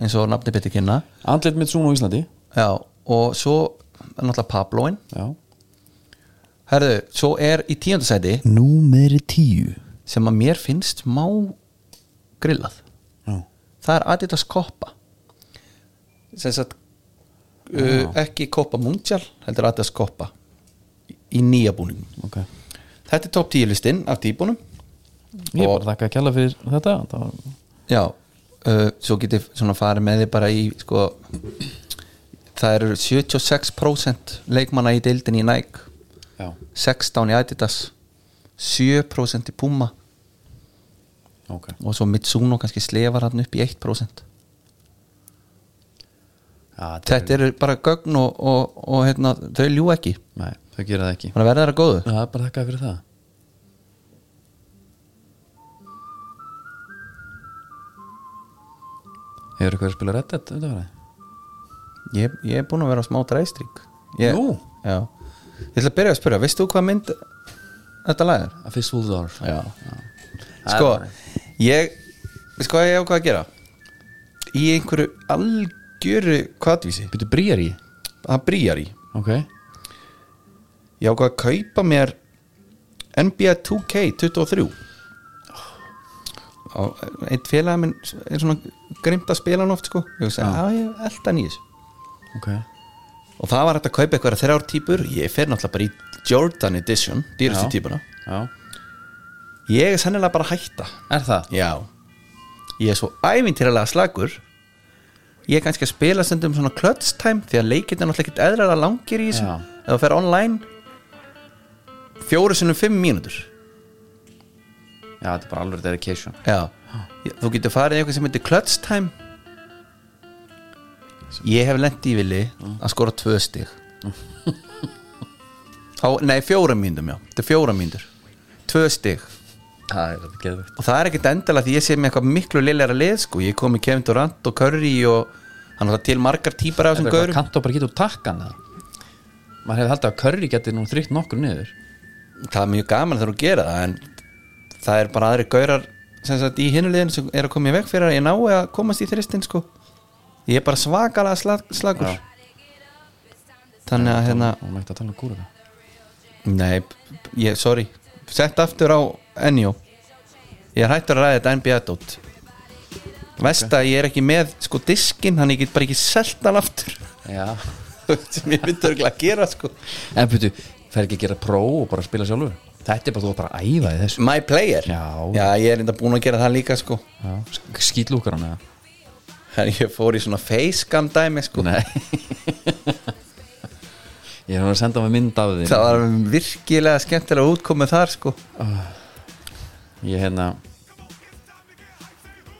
Speaker 4: eins og nafni betur kynna
Speaker 3: Andlit mitt svona á Íslandi
Speaker 4: já og svo er náttúrulega Pabloin
Speaker 3: Já,
Speaker 4: herðu, svo er í tíundasæti
Speaker 5: Númer tíu
Speaker 4: sem að mér finnst má grillað
Speaker 3: Já.
Speaker 4: það er Adidas Koppa sem sagt uh, ekki Koppa Mundial heldur Adidas Koppa í- í nýja búningum
Speaker 3: ok
Speaker 4: þetta er top 10 listinn af típunum
Speaker 3: Ég
Speaker 4: Og-
Speaker 3: bara þakka að kjalla fyrir þetta Það var
Speaker 4: já, uh, svo getið svona farið með þið bara í sko það eru 76% leikmanna í deildin í Nike
Speaker 3: Já,
Speaker 4: 16 í Adidas 7% í Puma
Speaker 3: ok
Speaker 4: og svo Mitsuno kannski slefar hann upp í 1%
Speaker 3: Já,
Speaker 4: þetta eru bara gögn og, og, og hérna, þau ljú ekki
Speaker 3: Nei, þau gera það ekki
Speaker 4: þannig að verða þeirra góðu
Speaker 3: Það er bara þakka fyrir það Hefur eitthvað að spila Red Dead undanfarið?
Speaker 4: ég, ég er búin að vera á smá dræstrík ég,
Speaker 3: Nú?
Speaker 4: já. ég ætla að byrja að spyrja, veistu þú hvað mynd þetta lag er?
Speaker 3: A Fistful of Dollars
Speaker 4: já, sko ég, sko ég ákvað að gera í einhverju algjöru kvatvísi,
Speaker 3: Býtu brýjar í
Speaker 4: það brýjar í
Speaker 3: Ok
Speaker 4: ég ákvað að kaupa mér NBA 2K23 og einn félag minn er svona grimt að spila hann oft sko ég segi, já, ég elda hann í þessu
Speaker 3: Ok
Speaker 4: og það var hægt að kaupa eitthvað þrjár típur ég fer náttúrulega bara í Jordan Edition dýrastu
Speaker 3: Já.
Speaker 4: típuna
Speaker 3: Já
Speaker 4: ég er sennilega bara að hætta
Speaker 3: Er það?
Speaker 4: já ég er svo ævintýralega slagur ég er kannski að spila stundum svona clutch time því að leikinn er náttúrulega ekkert eðlilega langir í þessu
Speaker 3: Já.
Speaker 4: ef það fer online fjóru sinnum fimm mínútur
Speaker 3: Já, þetta er bara alveg dedication
Speaker 4: Já, Ég- þú getur farið í eitthvað sem heitir Clutch Time Ég hef lent í vili að skora tvö stig Þá, nei, fjóra mínum já Þetta er fjóra mínur Tvö stig
Speaker 3: Það er þetta geðvögt
Speaker 4: Og það er ekkit endala því ég sé með eitthvað miklu lillera lið sko Ég kom í Kevin Durant og Curry og hann er það til margar típar af þessum
Speaker 3: Þetta er
Speaker 4: gaurum
Speaker 3: kanntu bara getur takkan það maður hefði haldið að Curry geti nú þrýtt nokkur niður
Speaker 4: það er mjög gaman þegar þú gera það en það er bara aðri gaurar sem sagt í hinulegin sem er að koma í veg fyrir að ég nái að komast í þristin sko ég er bara svakalega slag, slagur
Speaker 3: Já.
Speaker 4: þannig að hérna
Speaker 3: og maður ekkert að tala um kúra það
Speaker 4: nei, p- ég, sorry sett aftur á Enjó ég er hættur að ræða þetta NBA dót vest að ég er ekki með sko diskinn, hann ég get bara ekki selt hann aftur
Speaker 3: já,
Speaker 4: sem ég myndi örgulega að gera sko
Speaker 3: en betur, fer ekki að gera pró og bara spila sjálfur þetta er bara, þú er bara að æfa í þessu
Speaker 4: my player,
Speaker 3: Já.
Speaker 4: ég er enda búin að gera það líka sko
Speaker 3: já. skýtlúkar hann eða
Speaker 4: En ég fór í svona facecam dæmi sko
Speaker 3: nei ég er hann að senda mig mynd af því
Speaker 4: Það var virkilega skemmtilega útkomið þar sko
Speaker 3: ég hérna,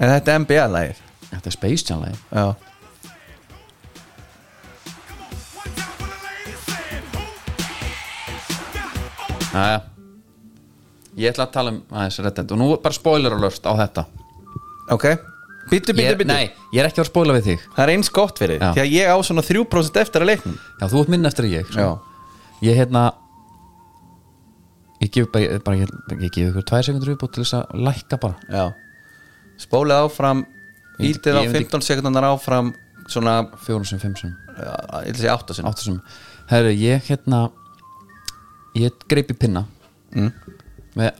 Speaker 4: En þetta er NBA-lægir
Speaker 3: þetta er Space Jam lagi
Speaker 4: Já
Speaker 3: Jæja Ég ætla að tala um aðeins reddend og nú bara spoiler alert á þetta
Speaker 4: Ok Bittu, bittu,
Speaker 3: ég,
Speaker 4: bittu
Speaker 3: Nei, ég er ekki að fara að spoila við þig
Speaker 4: Það er eins gott fyrir
Speaker 3: Já.
Speaker 4: því að ég á svona 3% eftir að leiknum
Speaker 3: Já, þú ert minn eftir en ég
Speaker 4: Já
Speaker 3: sko. Ég hérna Ég gef bara, bara ég, ég gef ykkur tvær sekundur upp til þess að lækka bara
Speaker 4: Já Spólið áfram
Speaker 3: Ég myndi-
Speaker 4: Ítið á
Speaker 3: ég myndi-
Speaker 4: 15 sekundar áfram Svona
Speaker 3: Fjórum sem, fimm sem,
Speaker 4: uh, Ég vil segja 8 sinni
Speaker 3: áttu sem Herru, ég hérna Ég greip í pinna
Speaker 4: Mm.
Speaker 3: með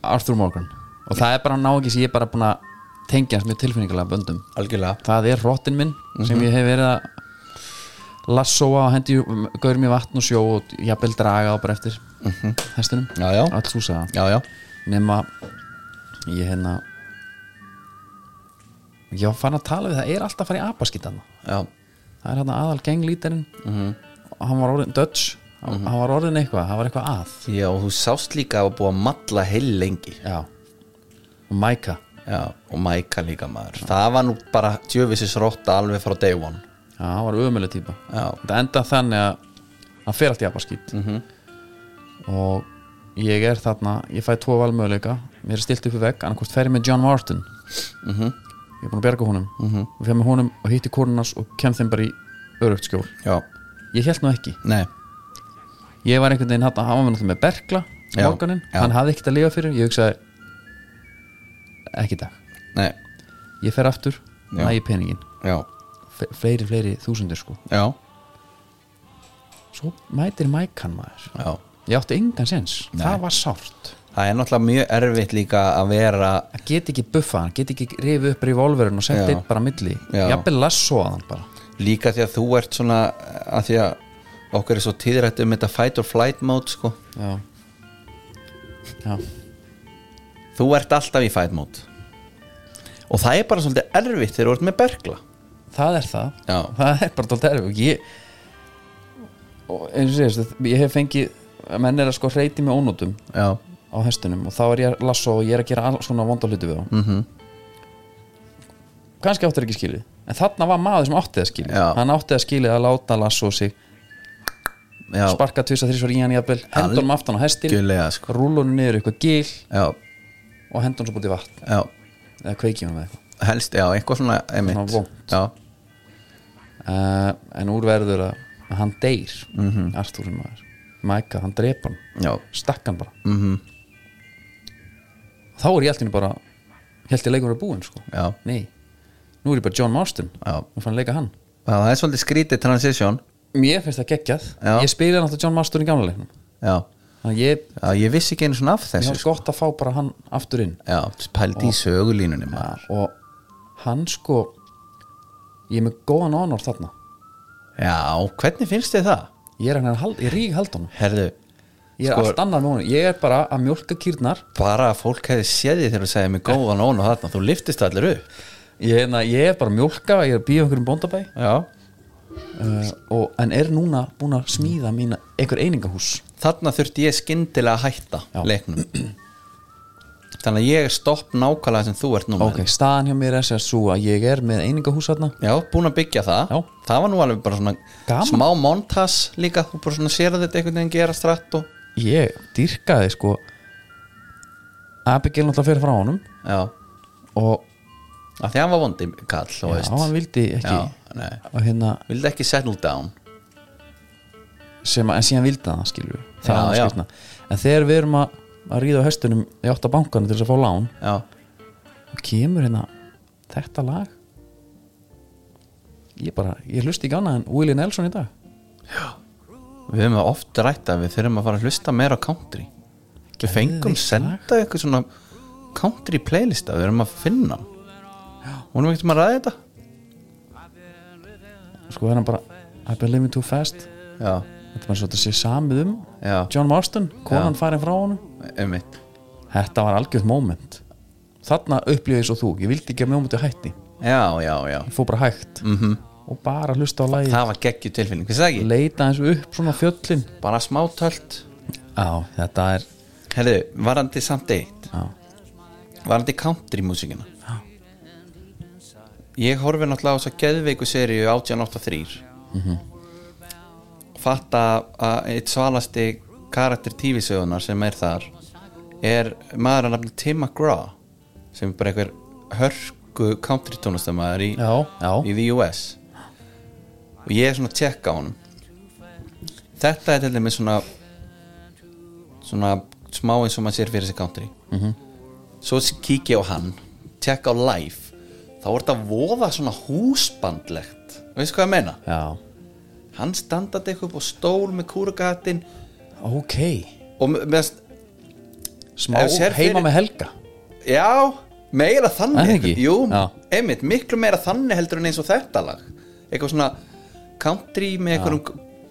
Speaker 3: Arthur Morgan og það er bara að ná ekki sem ég er bara búin að tengja hans mjög tilfinningalega böndum
Speaker 4: Algjörlega
Speaker 3: það er rottin minn
Speaker 4: Mhm.
Speaker 3: sem ég hef verið að lassóa og hendi gaur mér vatn og sjó og jafnvel draga á bara eftir hestinum,
Speaker 4: Mhm. Já, já.
Speaker 3: allt þú sagði
Speaker 4: Já, já
Speaker 3: nema ég hérna ég var fann að tala við það er alltaf að fara í apaskitana
Speaker 4: Já
Speaker 3: það er hérna aðal genglítarinn og hann var orðin Dutch hann, hann var orðin eitthvað, hann var eitthvað að
Speaker 4: Já, og þú sást líka að búa að matla heil lengi
Speaker 3: já, og Mæka
Speaker 4: Já, og Mæka líka maður Það var nú bara djöfisins rotta alveg frá day one
Speaker 3: já, hann var ömuleg típa
Speaker 4: Já,
Speaker 3: þetta enda þannig að hann fer allt í apaskýt og ég er þarna ég fæ tvo valmöðuleika, mér er stilt upp í vegg annarkvort fer ég með John Martin ég er búin að berga honum og fer með honum og hitti konunars og kem þeim bara í örugt skjól,
Speaker 4: já,
Speaker 3: ég held nú ekki
Speaker 4: nei
Speaker 3: ég var einhvern veginn hann að hafa með náttúrulega með berkla
Speaker 4: Já,
Speaker 3: morganinn,
Speaker 4: já.
Speaker 3: hann hafði ekkert að lifa fyrir ég hugsaði ekki í dag,
Speaker 4: Nei,
Speaker 3: ég fer aftur
Speaker 4: Já.
Speaker 3: næ í peningin,
Speaker 4: já,
Speaker 3: Fe- fleiri fleiri þúsundir sko,
Speaker 4: já,
Speaker 3: svo mætir mækan maður
Speaker 4: já
Speaker 3: ég átti engan sens,
Speaker 4: Nei.
Speaker 3: það var sárt
Speaker 4: Það er náttúrulega mjög erfitt líka að vera
Speaker 3: að geta ekki buffa hann, geta ekki rifið upp revolverin og sett
Speaker 4: Já.
Speaker 3: einn bara á milli
Speaker 4: Já.
Speaker 3: jafnvel lassoað hann bara
Speaker 4: líka því að þú ert svona að því að okkur er svo tíðrætt um þetta fight or flight mode sko
Speaker 3: já, já.
Speaker 4: Þú ert alltaf í fight mode og það er bara svolítið erfitt þegar þú ert með bergla
Speaker 3: það er það
Speaker 4: Já.
Speaker 3: það er bara tólt erfið ég, og eins og segist, ég hef fengið að menn er að sko hreiti með ónótum
Speaker 4: Já,
Speaker 3: á hestunum og þá er ég að lasso og ég er að gera alls svona vonda hluti við þá mm
Speaker 4: Mhm.
Speaker 3: -hmm. kannski áttir ekki skilið en þarna var maður sem átti það skilið
Speaker 4: Já.
Speaker 3: hann átti það skilið að láta lasso sig
Speaker 4: já,
Speaker 3: sparka tvisa þrísvar í hann jafnvel hendunum aftan á hestin
Speaker 4: Algjörlega, sko.
Speaker 3: rúlunum niður í eitthvað gil
Speaker 4: já,
Speaker 3: og hendunum svo búið í vatn
Speaker 4: já
Speaker 3: eða kveiki hann með eitthvað
Speaker 4: helst, já, eitthvað svona
Speaker 3: Svona
Speaker 4: emitt
Speaker 3: vont.
Speaker 4: Já,
Speaker 3: uh, en úr verður að, að hann deyr mm
Speaker 4: Mhm.
Speaker 3: -hmm. Arthurinn maður Mæka, hann drepa hann,
Speaker 4: já,
Speaker 3: stakk hann bara mm
Speaker 4: Mhm.
Speaker 3: þá er ég alltaf bara held ég leikur að búin sko
Speaker 4: já,
Speaker 3: nei, nú er ég bara John Marston
Speaker 4: Já.
Speaker 3: nú fann að leika hann
Speaker 4: það er svolítið skrítið transition
Speaker 3: mér finnst það geggjað,
Speaker 4: Já.
Speaker 3: ég spila náttúrulega John Marston í gamla leiknum
Speaker 4: Já,
Speaker 3: þannig að ég,
Speaker 4: já, ég vissi ekki einu svona af
Speaker 3: ég
Speaker 4: þessu sko.
Speaker 3: var gott að fá bara hann aftur inn
Speaker 4: Já, pældi í sögulínunni maður
Speaker 3: og hann sko ég er með góðan honor þarna
Speaker 4: Já, hvernig finnst þið það?
Speaker 3: ég er hann að hald, ég rík hald honum
Speaker 4: Herðu,
Speaker 3: ég er
Speaker 4: Sko-
Speaker 3: allt annað með honum, ég er bara að mjólka kýrnar
Speaker 4: bara að fólk hefði séð því þegar þú segið mig góðan ón og þarna, þú liftist allir upp
Speaker 3: ég, hérna, ég er bara að mjólka, ég er að býja einhverjum bóndabæ
Speaker 4: Já
Speaker 3: uh, og, en er núna búin að smíða mína einhver einingahús
Speaker 4: Þarna þurfti ég skyndilega að hætta
Speaker 3: Já.
Speaker 4: leiknum Þannig að ég er stopp nákvæmlega sem þú ert núna
Speaker 3: ok, staðan hjá mér er sér svo að ég er með einingahús þarna
Speaker 4: Já, búin að byggja það
Speaker 3: Já.
Speaker 4: Það var nú alveg bara svona
Speaker 3: Gaman.
Speaker 4: smá montas líka Þú bara svona sér að þetta einhvern veginn gera stratt og
Speaker 3: ég dyrkaði sko Abigail náttúrulega fyrir frá honum
Speaker 4: Já,
Speaker 3: og
Speaker 4: að því hann var vondi kall og
Speaker 3: já, hann vildi ekki
Speaker 4: Já, nei
Speaker 3: og hérna,
Speaker 4: Vildi ekki settle down
Speaker 3: sem að, en síðan vildi það skilur við það
Speaker 4: Já,
Speaker 3: er
Speaker 4: já.
Speaker 3: skýrna en þegar við erum að, að ríða á hestunum í átta bankana til þess að fá lán
Speaker 4: já,
Speaker 3: og kemur hérna þetta lag ég bara, ég hlusti ekki annað en Willie Nelson í dag
Speaker 4: við höfum það oft rætt að við þurfum að fara að hlusta meira á country við fengum
Speaker 3: Geðveikt
Speaker 4: senda eitthvað svona country playlista, við höfum að finna hann. hún er ekkert um að ræða þetta
Speaker 3: sko er hann bara I've been living too fast
Speaker 4: já,
Speaker 3: þetta er bara svo þetta sé samið um
Speaker 4: já,
Speaker 3: John Marston, konan farin frá honum
Speaker 4: um
Speaker 3: þetta var algjörð moment þarna upplýði svo þú, ég vildi ekki að mjómutu hætti ég
Speaker 4: já, já, já
Speaker 3: fór bara hægt
Speaker 4: mm
Speaker 3: og bara hlusta á lagið
Speaker 4: það var geggju tilfinning, finnst það ekki?
Speaker 3: leita eins og upp svona fjöllin
Speaker 4: bara smátöld
Speaker 3: Já, þetta er
Speaker 4: herðu, varandi samt eitt
Speaker 3: já,
Speaker 4: varandi country músikina ég horfi náttúrulega á þess að geðveiku seríu 1883 fatta að eitt svalasti karakter tífisögunar sem er þar er maður að nafni Tim McGraw sem er bara einhver hörku country tónastamæður í,
Speaker 3: já, já,
Speaker 4: í the US og ég er svona að tjekka á honum þetta er til dæmis svona svona smá eins og maður sér fyrir sig country
Speaker 3: Mhm.
Speaker 4: svo kíkja ég á hann tjekka á live þá er þetta voða svona húsbandlegt veistu hvað ég meina?
Speaker 3: já.
Speaker 4: hann standaði eitthvað upp á stól með kúrugatinn
Speaker 3: Ok,
Speaker 4: og me- meðast,
Speaker 3: smá
Speaker 4: Ef þú sér
Speaker 3: heima
Speaker 4: fyrir-
Speaker 3: með Helga
Speaker 4: já, meira þannig
Speaker 3: Er það ekki?
Speaker 4: jú,
Speaker 3: Já.
Speaker 4: einmitt, miklu meira þannig heldur en eins og þetta lag eitthvað svona country með eitthvað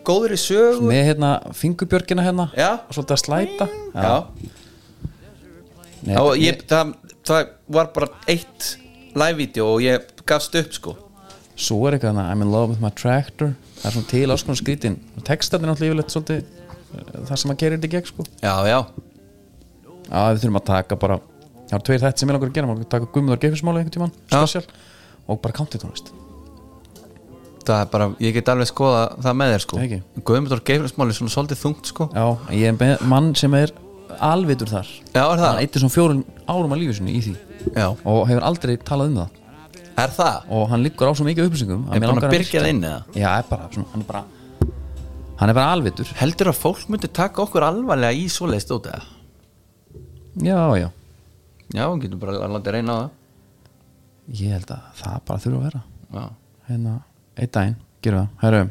Speaker 4: góðri sögu
Speaker 3: Með hérna fingurbjörgina hérna
Speaker 4: Já.
Speaker 3: og Svolítið að slæta
Speaker 4: já,
Speaker 3: Nei,
Speaker 4: Já, og ég, það, það var bara eitt live-vídeó og ég gafst upp sko
Speaker 3: Svo er eitthvað hana, I'm in love with my tractor Það er svona til áskonar skrítin og textan er náttúrulega yfirleitt svolítið eh, það sem að gera þetta í gegn sko
Speaker 4: Já, já
Speaker 3: Já, við þurfum að taka bara Það eru tveir þætt sem ég langar að gera Má taka gummiðar geifismáli einhvern tímann
Speaker 4: Já.
Speaker 3: special, og bara country tónlist
Speaker 4: Það er bara, ég get alveg skoða það með þér sko
Speaker 3: Ekki.
Speaker 4: Guðmundur Geiflarsmáli er svona svolítið þungt sko
Speaker 3: Já, ég er með mann sem er alvitur þar
Speaker 4: Já, er
Speaker 3: Hann
Speaker 4: það?
Speaker 3: eittir svona fjórun árum að lífi sinni í því
Speaker 4: Já,
Speaker 3: og hefur aldrei talað um það
Speaker 4: er það?
Speaker 3: og hann liggur á svo mikið upplýsingum
Speaker 4: Ég er
Speaker 3: mér
Speaker 4: búin
Speaker 3: langar
Speaker 4: að byrja það inn eða
Speaker 3: Já, er bara, svona, hann er bara hann er bara alvitur
Speaker 4: Heldur að fólk myndi taka okkur alvarlega í svoleiðist út eða?
Speaker 3: Já, já,
Speaker 4: Já, hún getur bara að láta reyna á
Speaker 3: ég held að það bara þurfa að vera
Speaker 4: það Já,
Speaker 3: hérna, einn daginn, gerum við það Herru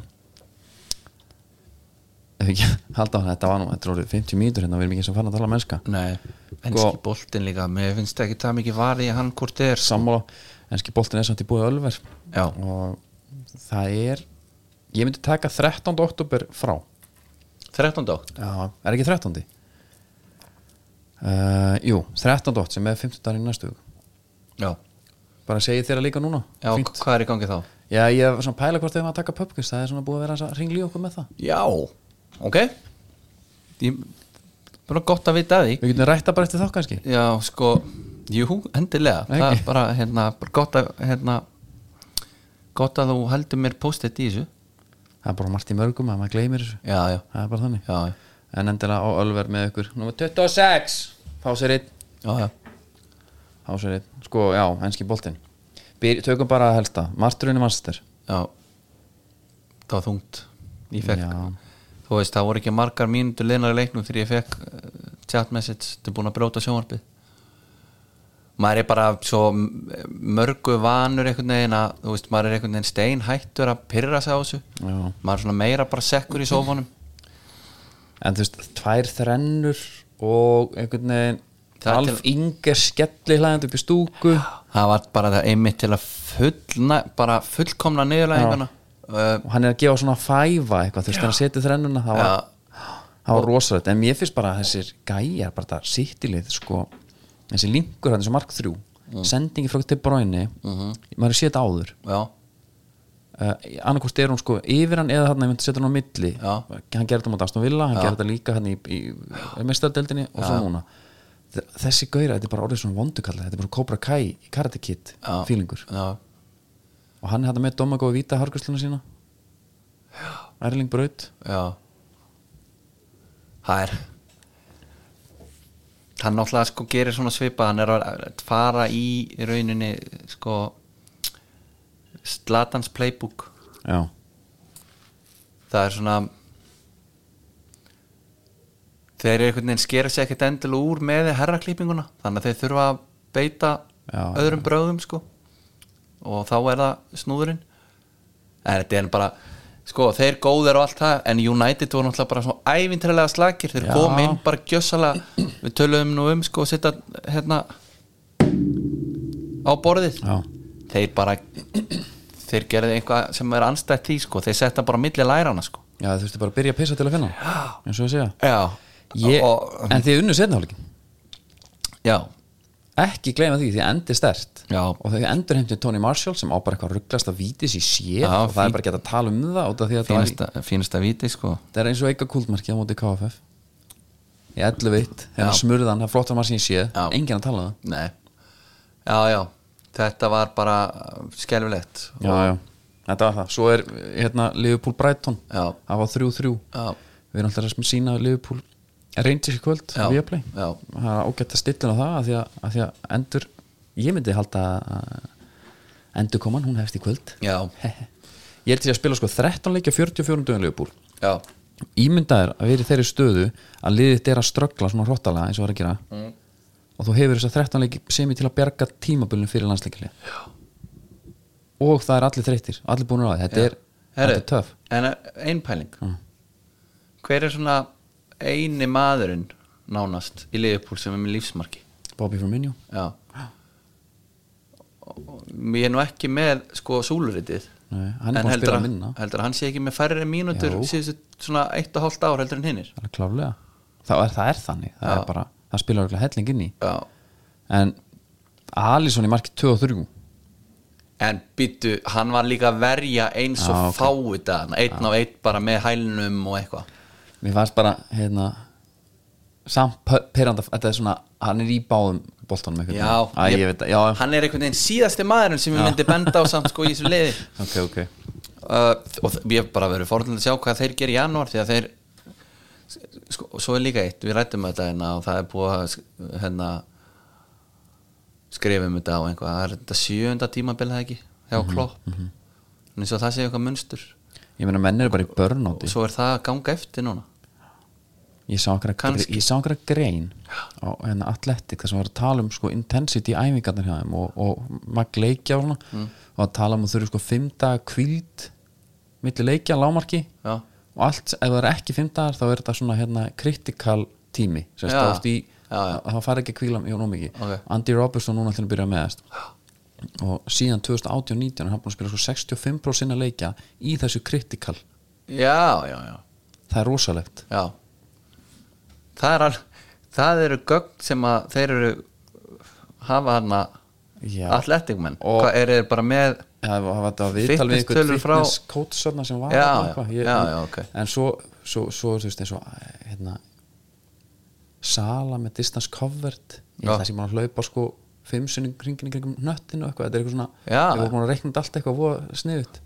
Speaker 3: Ef ekki, halda á það, þetta var nú þetta er orðið 50 mínútur hérna, við erum ekki sem farin að tala mennska
Speaker 4: nei Enski
Speaker 3: Sko.
Speaker 4: boltinn líka, mér finnst ekki það mikið varði hann hvort er
Speaker 3: sammála, enski boltin er samt í búið ölver
Speaker 4: Já.
Speaker 3: og það er ég myndi taka 13. oktober frá
Speaker 4: 13. átt
Speaker 3: Já. er ekki 13. Uh, jú, 13. oktober sem er 15. í næstu hug
Speaker 4: Já,
Speaker 3: bara segi þér að líka núna
Speaker 4: já
Speaker 3: Fínt.
Speaker 4: hvað er í gangi þá?
Speaker 3: já ég er svona að pæla hvort þau maður að taka pubquiz það er svona búið að vera aðeins að ringli okkur með það
Speaker 4: Já, ok Ég bara gott að vita að því
Speaker 3: við getum rætta bara eftir þá kannski
Speaker 4: Já, sko, jú, endilega Það
Speaker 3: Ekki.
Speaker 4: er bara, hérna, bara gott að hérna, gott að þú heldur mér postið í þessu
Speaker 3: það er bara margt í mörgum að maður gleymir þessu
Speaker 4: Já, já,
Speaker 3: það er bara þannig
Speaker 4: já, já,
Speaker 3: en endilega á ölver með ykkur nummer 26 fá sér einn
Speaker 4: já, já.
Speaker 3: fá sér einn sko já, henski boltin Byr, tökum bara að helsta Marturinn í Manchester
Speaker 4: já. Það var þungt Ég fekk,
Speaker 3: Já.
Speaker 4: þú veist, það voru ekki margar mínútur leinar í leiknum þegar ég fekk uh, chat message, þetta er búin að bróta sjónvarpið Maður er bara svo m- mörgu vanur einhvern veginn að, þú veist, maður er einhvern veginn steinhættur að pyrra sig á þessu
Speaker 3: Já.
Speaker 4: Maður er svona meira bara sekkur í sófanum
Speaker 3: en þú veist, tvær þrennur og einhvern veginn
Speaker 4: Það er til-
Speaker 3: Alf Inger skelli hlæðandi upp í stúku
Speaker 4: það var bara það einmitt til að fullna, bara fullkomna niðurlæðingana uh,
Speaker 3: og hann er að gefa svona fæfa eitthvað þú veist, hann seti þrennuna það var, það var rosalegt, en mér finnst bara að þessir gæjar, bara það sittilið sko, þessi linkur hann, þessi mark þrjú
Speaker 4: Mm.
Speaker 3: sendingi frá til bráinni
Speaker 4: Mhm.
Speaker 3: maður sé þetta áður
Speaker 4: já,
Speaker 3: uh, annarkost er hún sko yfir hann eða hann ef hann setur hann á milli
Speaker 4: Já.
Speaker 3: hann gerir þetta mát Aston Villa, hann gerir þetta líka hann í, í, í mestardeldinni og svo núna Þ- þessi gauðra, þetta er bara orðið svona vondukalla þetta er bara Cobra Kai í Karate Kid
Speaker 4: já,
Speaker 3: feelingur
Speaker 4: já,
Speaker 3: og hann er þetta með Domagó í Víta harkursluna sína Erling Braut
Speaker 4: já það er hann náttúrulega sko gerir svona svipa hann er að fara í rauninni sko Slatans playbook
Speaker 3: já,
Speaker 4: það er svona þeir eru einhvern veginn skera sér ekkert endilega úr með herraklippinguna þannig að þeir þurfa að beita
Speaker 3: Já,
Speaker 4: öðrum bröðum sko og þá er það snúðurinn en þetta er bara sko þeir góðir og allt það en United voru náttúrulega bara svona ævintrælega slakir þeir
Speaker 3: Já.
Speaker 4: komu inn bara gjössalega við töluðum nú um sko að setja hérna á borðið
Speaker 3: Já.
Speaker 4: þeir bara þeir gerði einhvað sem er anstætt því sko þeir setja bara á milli lærana sko
Speaker 3: Já, þú þurfti bara að byrja að pissa til að finna hann, eins og ég segja
Speaker 4: já,
Speaker 3: ég,
Speaker 4: og,
Speaker 3: En þið unnu setnáleikin
Speaker 4: já
Speaker 3: Ekki gleyma því, því endi stert
Speaker 4: Já.
Speaker 3: Og þau endur heimtið Tony Marshall sem á bara eitthvað rugglast að vítis í sér
Speaker 4: Já,
Speaker 3: og það
Speaker 4: fínt.
Speaker 3: er bara ekki hægt að tala um það út af því að það, var, í-
Speaker 4: fínasta, fínasta víti sko
Speaker 3: það er eins og eitthvað kúldmarki á móti KFF Ég ellu veitt, hérna
Speaker 4: Já.
Speaker 3: smurðan, það er flottar maður sem ég sé
Speaker 4: Já.
Speaker 3: Engin að tala um það
Speaker 4: Nei. já, já þetta var bara uh, skelfilegt
Speaker 3: Já, já, þetta var það Svo er hérna Liverpool Brighton
Speaker 4: Já.
Speaker 3: Það var 3-3
Speaker 4: Já.
Speaker 3: Við erum alltaf að sína Liverpool Rangers í kvöld,
Speaker 4: Já,
Speaker 3: við að play
Speaker 4: já.
Speaker 3: Það er ágætt að stilla á það að því að, að því að endur, ég myndi halda að endur koman, hún hefst í kvöld
Speaker 4: já,
Speaker 3: Ég held því að spila sko 13 leikja 44 dögum Liverpool
Speaker 4: já,
Speaker 3: Ímyndaðir að vera í þeirri stöðu að liðið þetta er að ströggla svona hróttalega eins og það er að gera
Speaker 4: Mm.
Speaker 3: og þú hefur þess að 13 leiki sem til að bjarga tímabölinu fyrir landsleikili og það er allir þreyttir allir búinur á því, þetta er,
Speaker 4: Herru,
Speaker 3: þetta er töf
Speaker 4: en eh, ein pæling
Speaker 3: Mm.
Speaker 4: hver er svona eini maðurinn nánast í liðupúl sem er með lífsmarki
Speaker 3: Bobby Firmino
Speaker 4: já Og ég er nú ekki með sko súluritið
Speaker 3: Nei, hann er búinn
Speaker 4: En
Speaker 3: að
Speaker 4: heldur
Speaker 3: spila
Speaker 4: að-
Speaker 3: minna.
Speaker 4: heldur að hann sé ekki með færri mínútur
Speaker 3: Jú.
Speaker 4: síðustu svona eitt og hálft ár heldur en hinnir
Speaker 3: alveg klálega, það er, það er þannig það,
Speaker 4: Já.
Speaker 3: er bara, það spilar örugglega helling inn í
Speaker 4: já
Speaker 3: en Alisson í marki 2 og 3
Speaker 4: En býttu, hann var líka að verja eins
Speaker 3: Já,
Speaker 4: og ah,
Speaker 3: ok.
Speaker 4: fáið það Einn á einn bara með hælnum og eitthvað
Speaker 3: mér fannst bara hérna samt pö- perandi að- þetta er svona, hann er í báðum boltanum einhvern
Speaker 4: Já,
Speaker 3: veginn. Æ, ég, veit að, já,
Speaker 4: Hann er einhvern veginn síðasti maðurinn sem ég myndi benda á samt sko í þessu liði
Speaker 3: ok, ok
Speaker 4: uh, Og þ- ég hef bara verið forðan að sjá hvað þeir gera í janúar Því að þeir sko, og Svo er líka eitt, við rættum þetta hérna og það er búið að sk- hérna skrifa um þetta á einhvað Það er þetta sjöunda tímabil það ekki hjá
Speaker 3: Mhm,
Speaker 4: Klopp mm -hmm. En eins og það sé eitthvað munstur
Speaker 3: ég meina menn eru bara í börnáti
Speaker 4: Og svo er það að ganga eftir núna
Speaker 3: ég sá einhverja gre-
Speaker 4: Kannski.
Speaker 3: ég sá einhverja grein á henni atletik þar sem var að tala um sko intensity í æfingarnar hjá þeim og, og magg leikja og svona
Speaker 4: Mm.
Speaker 3: og að tala um að þau eru sko 5 daga kvíld milli leikja, lámarki
Speaker 4: Já.
Speaker 3: og allt, ef það er ekki 5 dagar þá er þetta svona hérna kritikal tími sem
Speaker 4: Já.
Speaker 3: stáðst í,
Speaker 4: Já, já.
Speaker 3: það fara ekki að kvíla mjög nóg mikið
Speaker 4: Ok.
Speaker 3: Andy Robertson núna til að byrja með þess og síðan 2018-19 er hann búin að spila sko 65% sinna leikja í þessu kritikal,
Speaker 4: Já, já, já
Speaker 3: það er rosalegt
Speaker 4: Já Það, er al, það eru gögn sem að þeir eru hafa hana
Speaker 3: Já.
Speaker 4: atletikmenn
Speaker 3: Og-
Speaker 4: Hvað er þeir bara með
Speaker 3: Það var, það var þetta viðtal
Speaker 4: Fitness
Speaker 3: við
Speaker 4: tölur
Speaker 3: einhvern
Speaker 4: frá-
Speaker 3: fitness coach þarna sem var
Speaker 4: Já,
Speaker 3: þarna
Speaker 4: já,
Speaker 3: eitthvað.
Speaker 4: já, já, ok.
Speaker 3: En svo, svo, svo þú veist, eins og hérna, sala með distance covered ég
Speaker 4: Já.
Speaker 3: held að sé maður að hlaupa sko fimm sinni kringin í kringum nöttinu og eitthvað, þetta er eitthvað svona
Speaker 4: Já.
Speaker 3: ég voru maður að reikna út allt eitthvað voða sniðut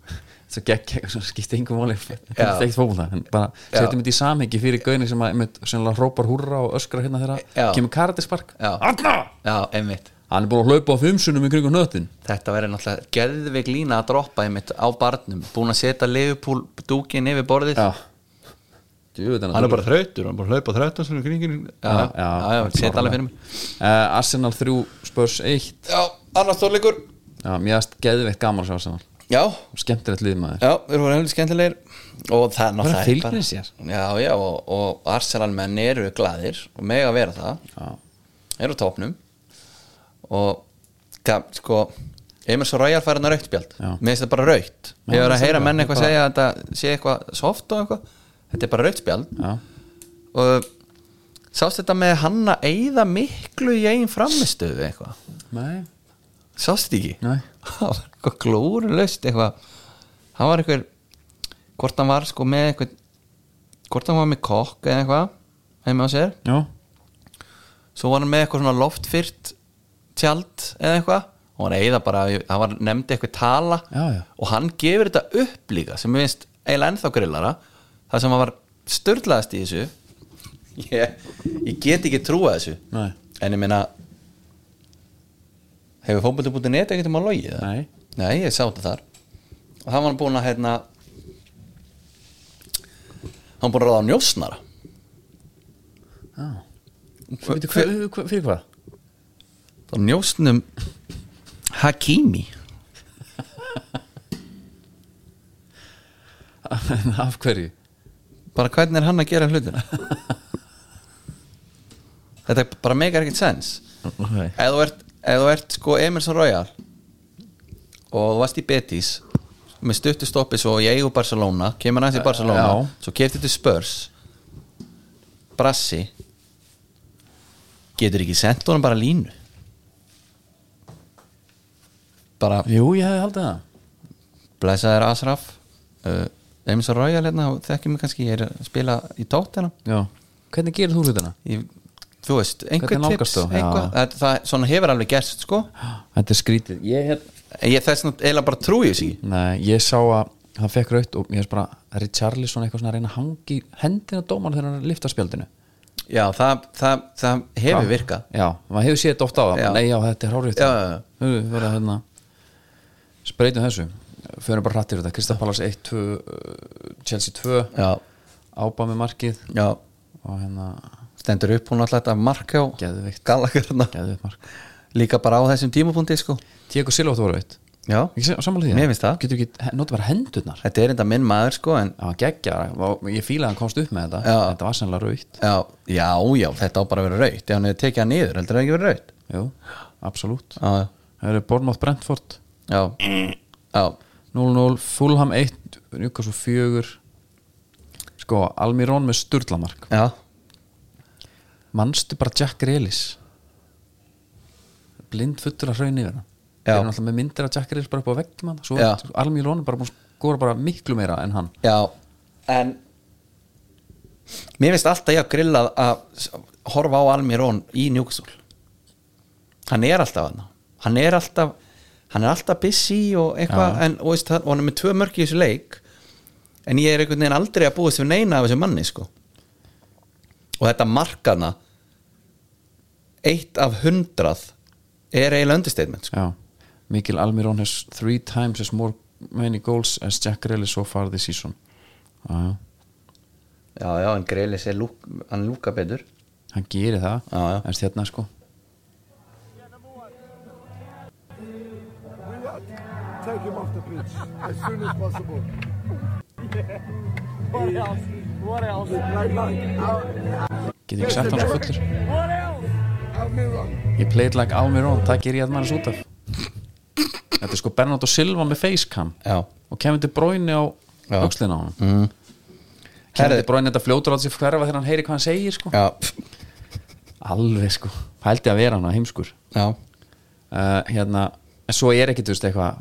Speaker 3: svo gegg eitthvað svona skipti engum máli þetta
Speaker 4: Já.
Speaker 3: er ekkert fókbólta, en bara
Speaker 4: Já.
Speaker 3: setjum þetta í samhengi fyrir gauðin sem að einmitt sennilega hrópar húrra og öskra hérna
Speaker 4: Já.
Speaker 3: þegar kemur karatispark
Speaker 4: Já.
Speaker 3: Arna!
Speaker 4: Já, einmitt
Speaker 3: hann er búin að hlaupa á fimm sinnum í kringum nöttin
Speaker 4: Þetta verður náttúrulega geðveik lína að droppa einmitt á barnum Búin að setja leifupúl dúkin yfir borðið
Speaker 3: Já Djú,
Speaker 4: Hann er bara þrautur, hann er bara að hlaupa þrautur svona kringin Já, já, já, já setja alveg fyrir mig
Speaker 3: uh, Arsenal 3 spörs 1
Speaker 4: Já, annars stórleikur
Speaker 3: Já, mér erst geðveikt gaman að sjá Arsenal
Speaker 4: Já,
Speaker 3: Skemmtilegt lið maður
Speaker 4: Já, þeir voru hefðið skemmtilegir og það er náttúrulega
Speaker 3: fylgni sér.
Speaker 4: Já, já, og, og Arsenal menn eru glaðir og mega að vera það
Speaker 3: Já.
Speaker 4: eru á topnum og það, sko Emerson Royal fær hérna raukt spjald
Speaker 3: Já.
Speaker 4: mér finnst þetta bara raukt
Speaker 3: Já,
Speaker 4: ég var að
Speaker 3: það
Speaker 4: heyra
Speaker 3: er
Speaker 4: menn eitthvað
Speaker 3: bara-
Speaker 4: segja að þetta sé eitthvað soft og eitthvað þetta er bara raukt spjald
Speaker 3: Já,
Speaker 4: og sást þetta með hann að eyða miklu í einn framistöðu eitthvað
Speaker 3: nei,
Speaker 4: sást ekki
Speaker 3: nei
Speaker 4: það var eitthvað glórulaust eitthvað hann var eitthvað hvort hann var sko með eitthvað hvort hann var með kokk eða eitthvað heima á sér,
Speaker 3: Já,
Speaker 4: svo var hann með eitthvað svona loftfyrt tjald eða eitthvað og hann eigða bara, hann var nefndi eitthvað tala
Speaker 3: Já, já.
Speaker 4: og hann gefur þetta upp líka sem mér finnst eiginlega ennþá grillara það sem hann var störlaðast í þessu ég, ég get ekki trúa þessu
Speaker 3: Nei.
Speaker 4: en ég meina hefur fótbolti bútið neti ekkert um að logið það?
Speaker 3: nei
Speaker 4: Nei, ég sá þetta þar og hann var búinn að hérna hann var búinn að ráða njósnara
Speaker 3: Veitu, hver, hver, fyrir hvað?
Speaker 4: Njóstnum Hakimi
Speaker 3: Af hverju?
Speaker 4: bara hvernig er hann að gera hlutina þetta bara meikar ekkert sens
Speaker 3: Okay.
Speaker 4: ef þú ert, ef þú ert sko Emerson Royal og þú varst í Betis með stuttu stoppi svo í eigu Barcelona kemur hans í Barcelona
Speaker 3: Eh, Já.
Speaker 4: svo kefti til Spurs Brassi getur ekki sendt honum bara línu bara
Speaker 3: Jú, ég hefði haldið það
Speaker 4: blæsaðir Asraf uh, Emerson Royal hérna þekkjum við kannski, ég er að spila í tóttina
Speaker 3: Já. Hvernig gerir þú hlutina?
Speaker 4: ég, þú veist, einhver
Speaker 3: Hvernig
Speaker 4: tips
Speaker 3: nálgast þú?
Speaker 4: einhver,
Speaker 3: Já.
Speaker 4: það, það, svona hefur alveg gerst sko
Speaker 3: Þetta er skrítið Ég, hef...
Speaker 4: En ég þess að eiginlega bara trúi þessi
Speaker 3: Nei, ég sá að hann fekk raut og mér er bara Richarlison eitthvað svona að reyna að hangi hendina dómar þegar hann lifta spjaldinu
Speaker 4: já, það, það, það hefur virkað
Speaker 3: Já, maður hefur séð þetta oft á það
Speaker 4: Já.
Speaker 3: Nei, já, þetta er hárið
Speaker 4: Já, já, já.
Speaker 3: Verða hérna Spreytum þessu Förum bara hratt yfir þetta Kristaf Pallas 1, 2, uh, Chelsea 2
Speaker 4: já,
Speaker 3: Ába með markið
Speaker 4: já,
Speaker 3: Og hérna
Speaker 4: stendur upp hún alltaf þetta marka á
Speaker 3: Geðveikt.
Speaker 4: gallakarna
Speaker 3: Gæðið upp mark
Speaker 4: líka bara á þessum tímapunkti sko
Speaker 3: Tíko Silva þú voru veitt
Speaker 4: já,
Speaker 3: Ekki sammála því
Speaker 4: Mér finnst það.
Speaker 3: Getur ekki Nóttu bara hendurnar
Speaker 4: þetta er enda minn maður sko en
Speaker 3: Það var geggjara og Ég fílaði að hann komst upp með þetta
Speaker 4: Já.
Speaker 3: Þetta var sannlega raut
Speaker 4: já, já, já, þetta á bara að vera raut ef hann hefur tekið hann niður, heldur það ekki verið raut
Speaker 3: Jú, absolutt
Speaker 4: já,
Speaker 3: Það eru Bournemouth Brentford
Speaker 4: já, já
Speaker 3: 0-0, Fulham 1 Newcastle 4 Sko, Almirón með Sturlamark
Speaker 4: já,
Speaker 3: Manstu bara Jack Grealis Blind fullur að hraun yfir hann
Speaker 4: Já.
Speaker 3: Þeir eru náttúrulega með myndir af Jack Grealis bara upp á veggjum hann Svo
Speaker 4: Já.
Speaker 3: Almirón er bara búin að skora bara miklu meira en hann
Speaker 4: já en mér finnst alltaf ég að grillað að s- horfa á Almirón í Newcastle hann er alltaf hann hann er alltaf hann er alltaf busy og eitthvað en, og, veist, hann- og hann er með tvö mörk í þessu leik en ég er einhvern veginn aldrei að búið sem neina af þessu manni sko og þetta markana eitt af hundrað er eiginlega understatement sko.
Speaker 3: Já, Mikil Almirón has three times as more many goals as Jack Grealis so far this season Já, já,
Speaker 4: já, já, en Greilis er lúk, hann lúka betur
Speaker 3: hann gerir það
Speaker 4: Já, já.
Speaker 3: En hérna sko
Speaker 6: Take him off the pitch as soon as possible.
Speaker 7: What else? What else?
Speaker 6: Like, like,
Speaker 3: Getur ekki sett hann svo fullur
Speaker 7: What else?
Speaker 6: Almiron.
Speaker 3: Ég played like Almirón, það ger ég að maður út af Þetta er sko Bernardo Silva með facecam
Speaker 4: já,
Speaker 3: og kemur til bróinu á
Speaker 4: Já. Mhm.
Speaker 3: aukslina á hann mm. kemur
Speaker 4: Herri-
Speaker 3: til bróinu þetta fljótur átt sér hverfa þegar hann heyri hvað hann segir sko.
Speaker 4: já,
Speaker 3: alveg sko, pældi að vera hann á heimskur
Speaker 4: já.
Speaker 3: uh, hérna, en svo er ekkit þú veist eitthvað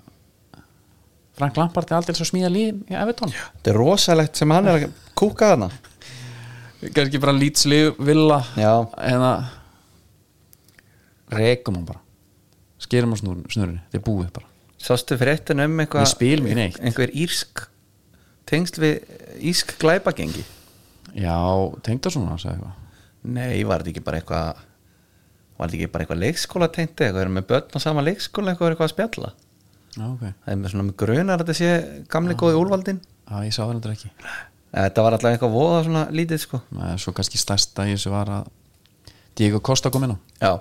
Speaker 3: Frank Lampard er aldrei svo smíða líð í Evertón
Speaker 4: Þetta er rosalegt sem hann er að kúka þarna
Speaker 3: kannski bara hérna. lýtslið villa
Speaker 4: Já.
Speaker 3: eða rekum hann bara skerum hann snúrin, snurinu, þetta er búið bara
Speaker 4: Sástu fréttin um eitthvað
Speaker 3: Ég spil mig neitt.
Speaker 4: Einhver írsk Tengsl við írsk glæpagengi
Speaker 3: já, tengda svona sagði eitthvað
Speaker 4: Nei, var þetta ekki bara eitthvað Var þetta ekki bara eitthvað leikskóla tengti Eitthvað er með börn á sama leikskóla Eitthvað er eitthvað að spjalla
Speaker 3: já, ok,
Speaker 4: Það er með svona með grunar að þetta sé gamli góði úlvaldin
Speaker 3: já, ég sá það heldur ekki
Speaker 4: Þetta var allavega eitthvað voða svona lítið sko
Speaker 3: Nei, svo kannski stærsta í þessu var að Diego Costa kom inn á
Speaker 4: Já,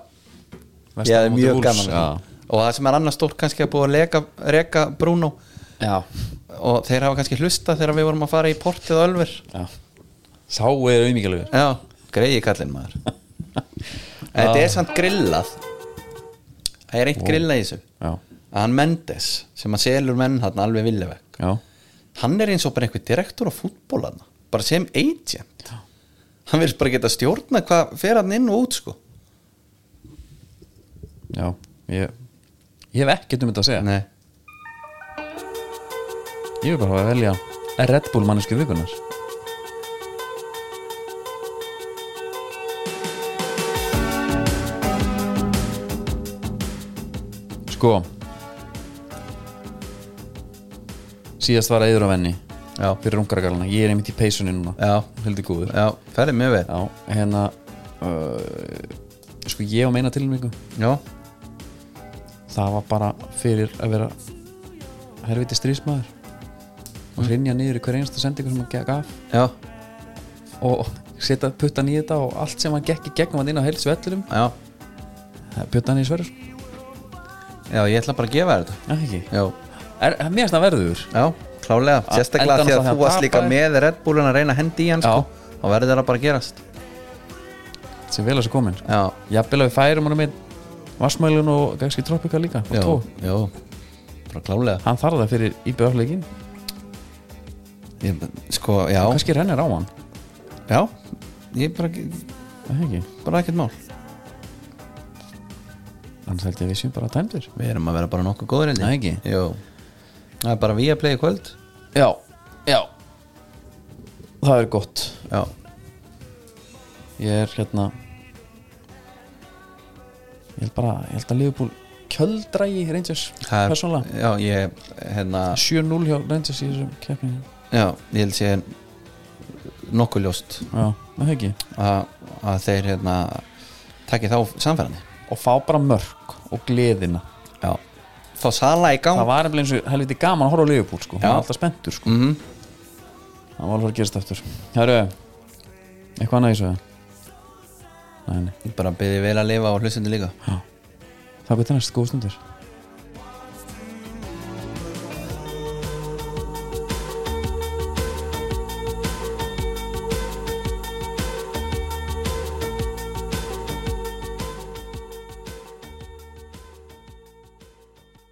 Speaker 3: Vestan
Speaker 4: ég
Speaker 3: á
Speaker 4: er
Speaker 3: móti
Speaker 4: mjög
Speaker 3: Wolves.
Speaker 4: gaman að því. Og það sem er annars stórt kannski að búa að leka, reka Bruno
Speaker 3: já.
Speaker 4: Og þeir hafa kannski hlusta þegar við vorum að fara í portið og ölver
Speaker 3: já Sá er auðmíkjalegur
Speaker 4: Já, greiði kallinn maður En Þetta er samt grillað Það er eitt grillað í þessu
Speaker 3: Já,
Speaker 4: að hann Mendes sem að selur menn hann alveg vilja vekk
Speaker 3: já,
Speaker 4: hann er eins og bara einhver direktor á fútbólana bara sem agent hann vil bara geta stjórna hvað fer hann inn og út sko
Speaker 3: já Ég, ég hef ekkert um þetta að segja
Speaker 4: Nei.
Speaker 3: Ég vil bara að velja Red Bull mannesku vikunar Sko Síðast var eður af henni
Speaker 4: Já.
Speaker 3: Fyrir ungargalana, ég er einmitt í peysunni núna
Speaker 4: Já.
Speaker 3: Hildi góður
Speaker 4: Já, ferði mjög vel
Speaker 3: Já, hérna uh, Sko ég á meina tilmyngu
Speaker 4: Já,
Speaker 3: Það var bara fyrir að vera Herviti strísmaður Mm. Og hrinja niður í hver einasta sendingu sem hann gaf
Speaker 4: já,
Speaker 3: Og setja puttan í þetta og allt sem hann gekk í gegnum hann inn á helst vellurum
Speaker 4: já,
Speaker 3: puttan í sverjur
Speaker 4: já, ég ætla bara að gefa þér þetta
Speaker 3: Já, ekki
Speaker 4: Já,
Speaker 3: Er, er mér svona verður
Speaker 4: já klálega,
Speaker 3: A-
Speaker 4: sérstaklega
Speaker 3: endanum þá
Speaker 4: því að
Speaker 3: þegar
Speaker 4: þú varst
Speaker 3: tapaði.
Speaker 4: líka með Red Bullin að reyna að hendi í hann
Speaker 3: Já.
Speaker 4: sko, þá verður það bara að gerast
Speaker 3: sem vel að þessu komin sko.
Speaker 4: Já,
Speaker 3: Jafnvel að við færum hann með Vassmælun og Gagski Tropika líka og
Speaker 4: já,
Speaker 3: tó
Speaker 4: já bara klálega
Speaker 3: Hann þarf það fyrir íbjöðarleikin
Speaker 4: ég, Sko, já,
Speaker 3: Kannski rennir á hann
Speaker 4: já ég bara,
Speaker 3: Er það ekki
Speaker 4: bara ekkert mál
Speaker 3: Þannig held ég að við séum bara tæmdir
Speaker 4: Við erum að vera bara nokkuð góður heldur
Speaker 3: Nei, ekki.
Speaker 4: Jú, það er bara við að playa í kvöld
Speaker 3: Já, já Það er gott
Speaker 4: Já,
Speaker 3: Ég er hérna Ég held bara, ég held að Liverpool kjöldrægi Rangers
Speaker 4: það er
Speaker 3: persónulega
Speaker 4: Já, ég, hérna
Speaker 3: 7-0 hjá Rangers í þessum keppningum
Speaker 4: Já, ég held sé nokkuð ljóst
Speaker 3: Já, það ekki
Speaker 4: að, að þeir hérna takki þá samferðandi
Speaker 3: Og fá bara mörk og gleðina
Speaker 4: Já, fá sala í gang
Speaker 3: Það var eftir eins og helviti gaman að horfa á Liverpool sko Það
Speaker 4: Já.
Speaker 3: var alltaf spenntur sko
Speaker 4: Mhm.
Speaker 3: Það var alveg að gerast eftir Herru, eitthvað annað í svo Nei, nei,
Speaker 4: Ég bara byrði vel að lifa og hlustandi líka
Speaker 3: það er gott til næst, góð stundir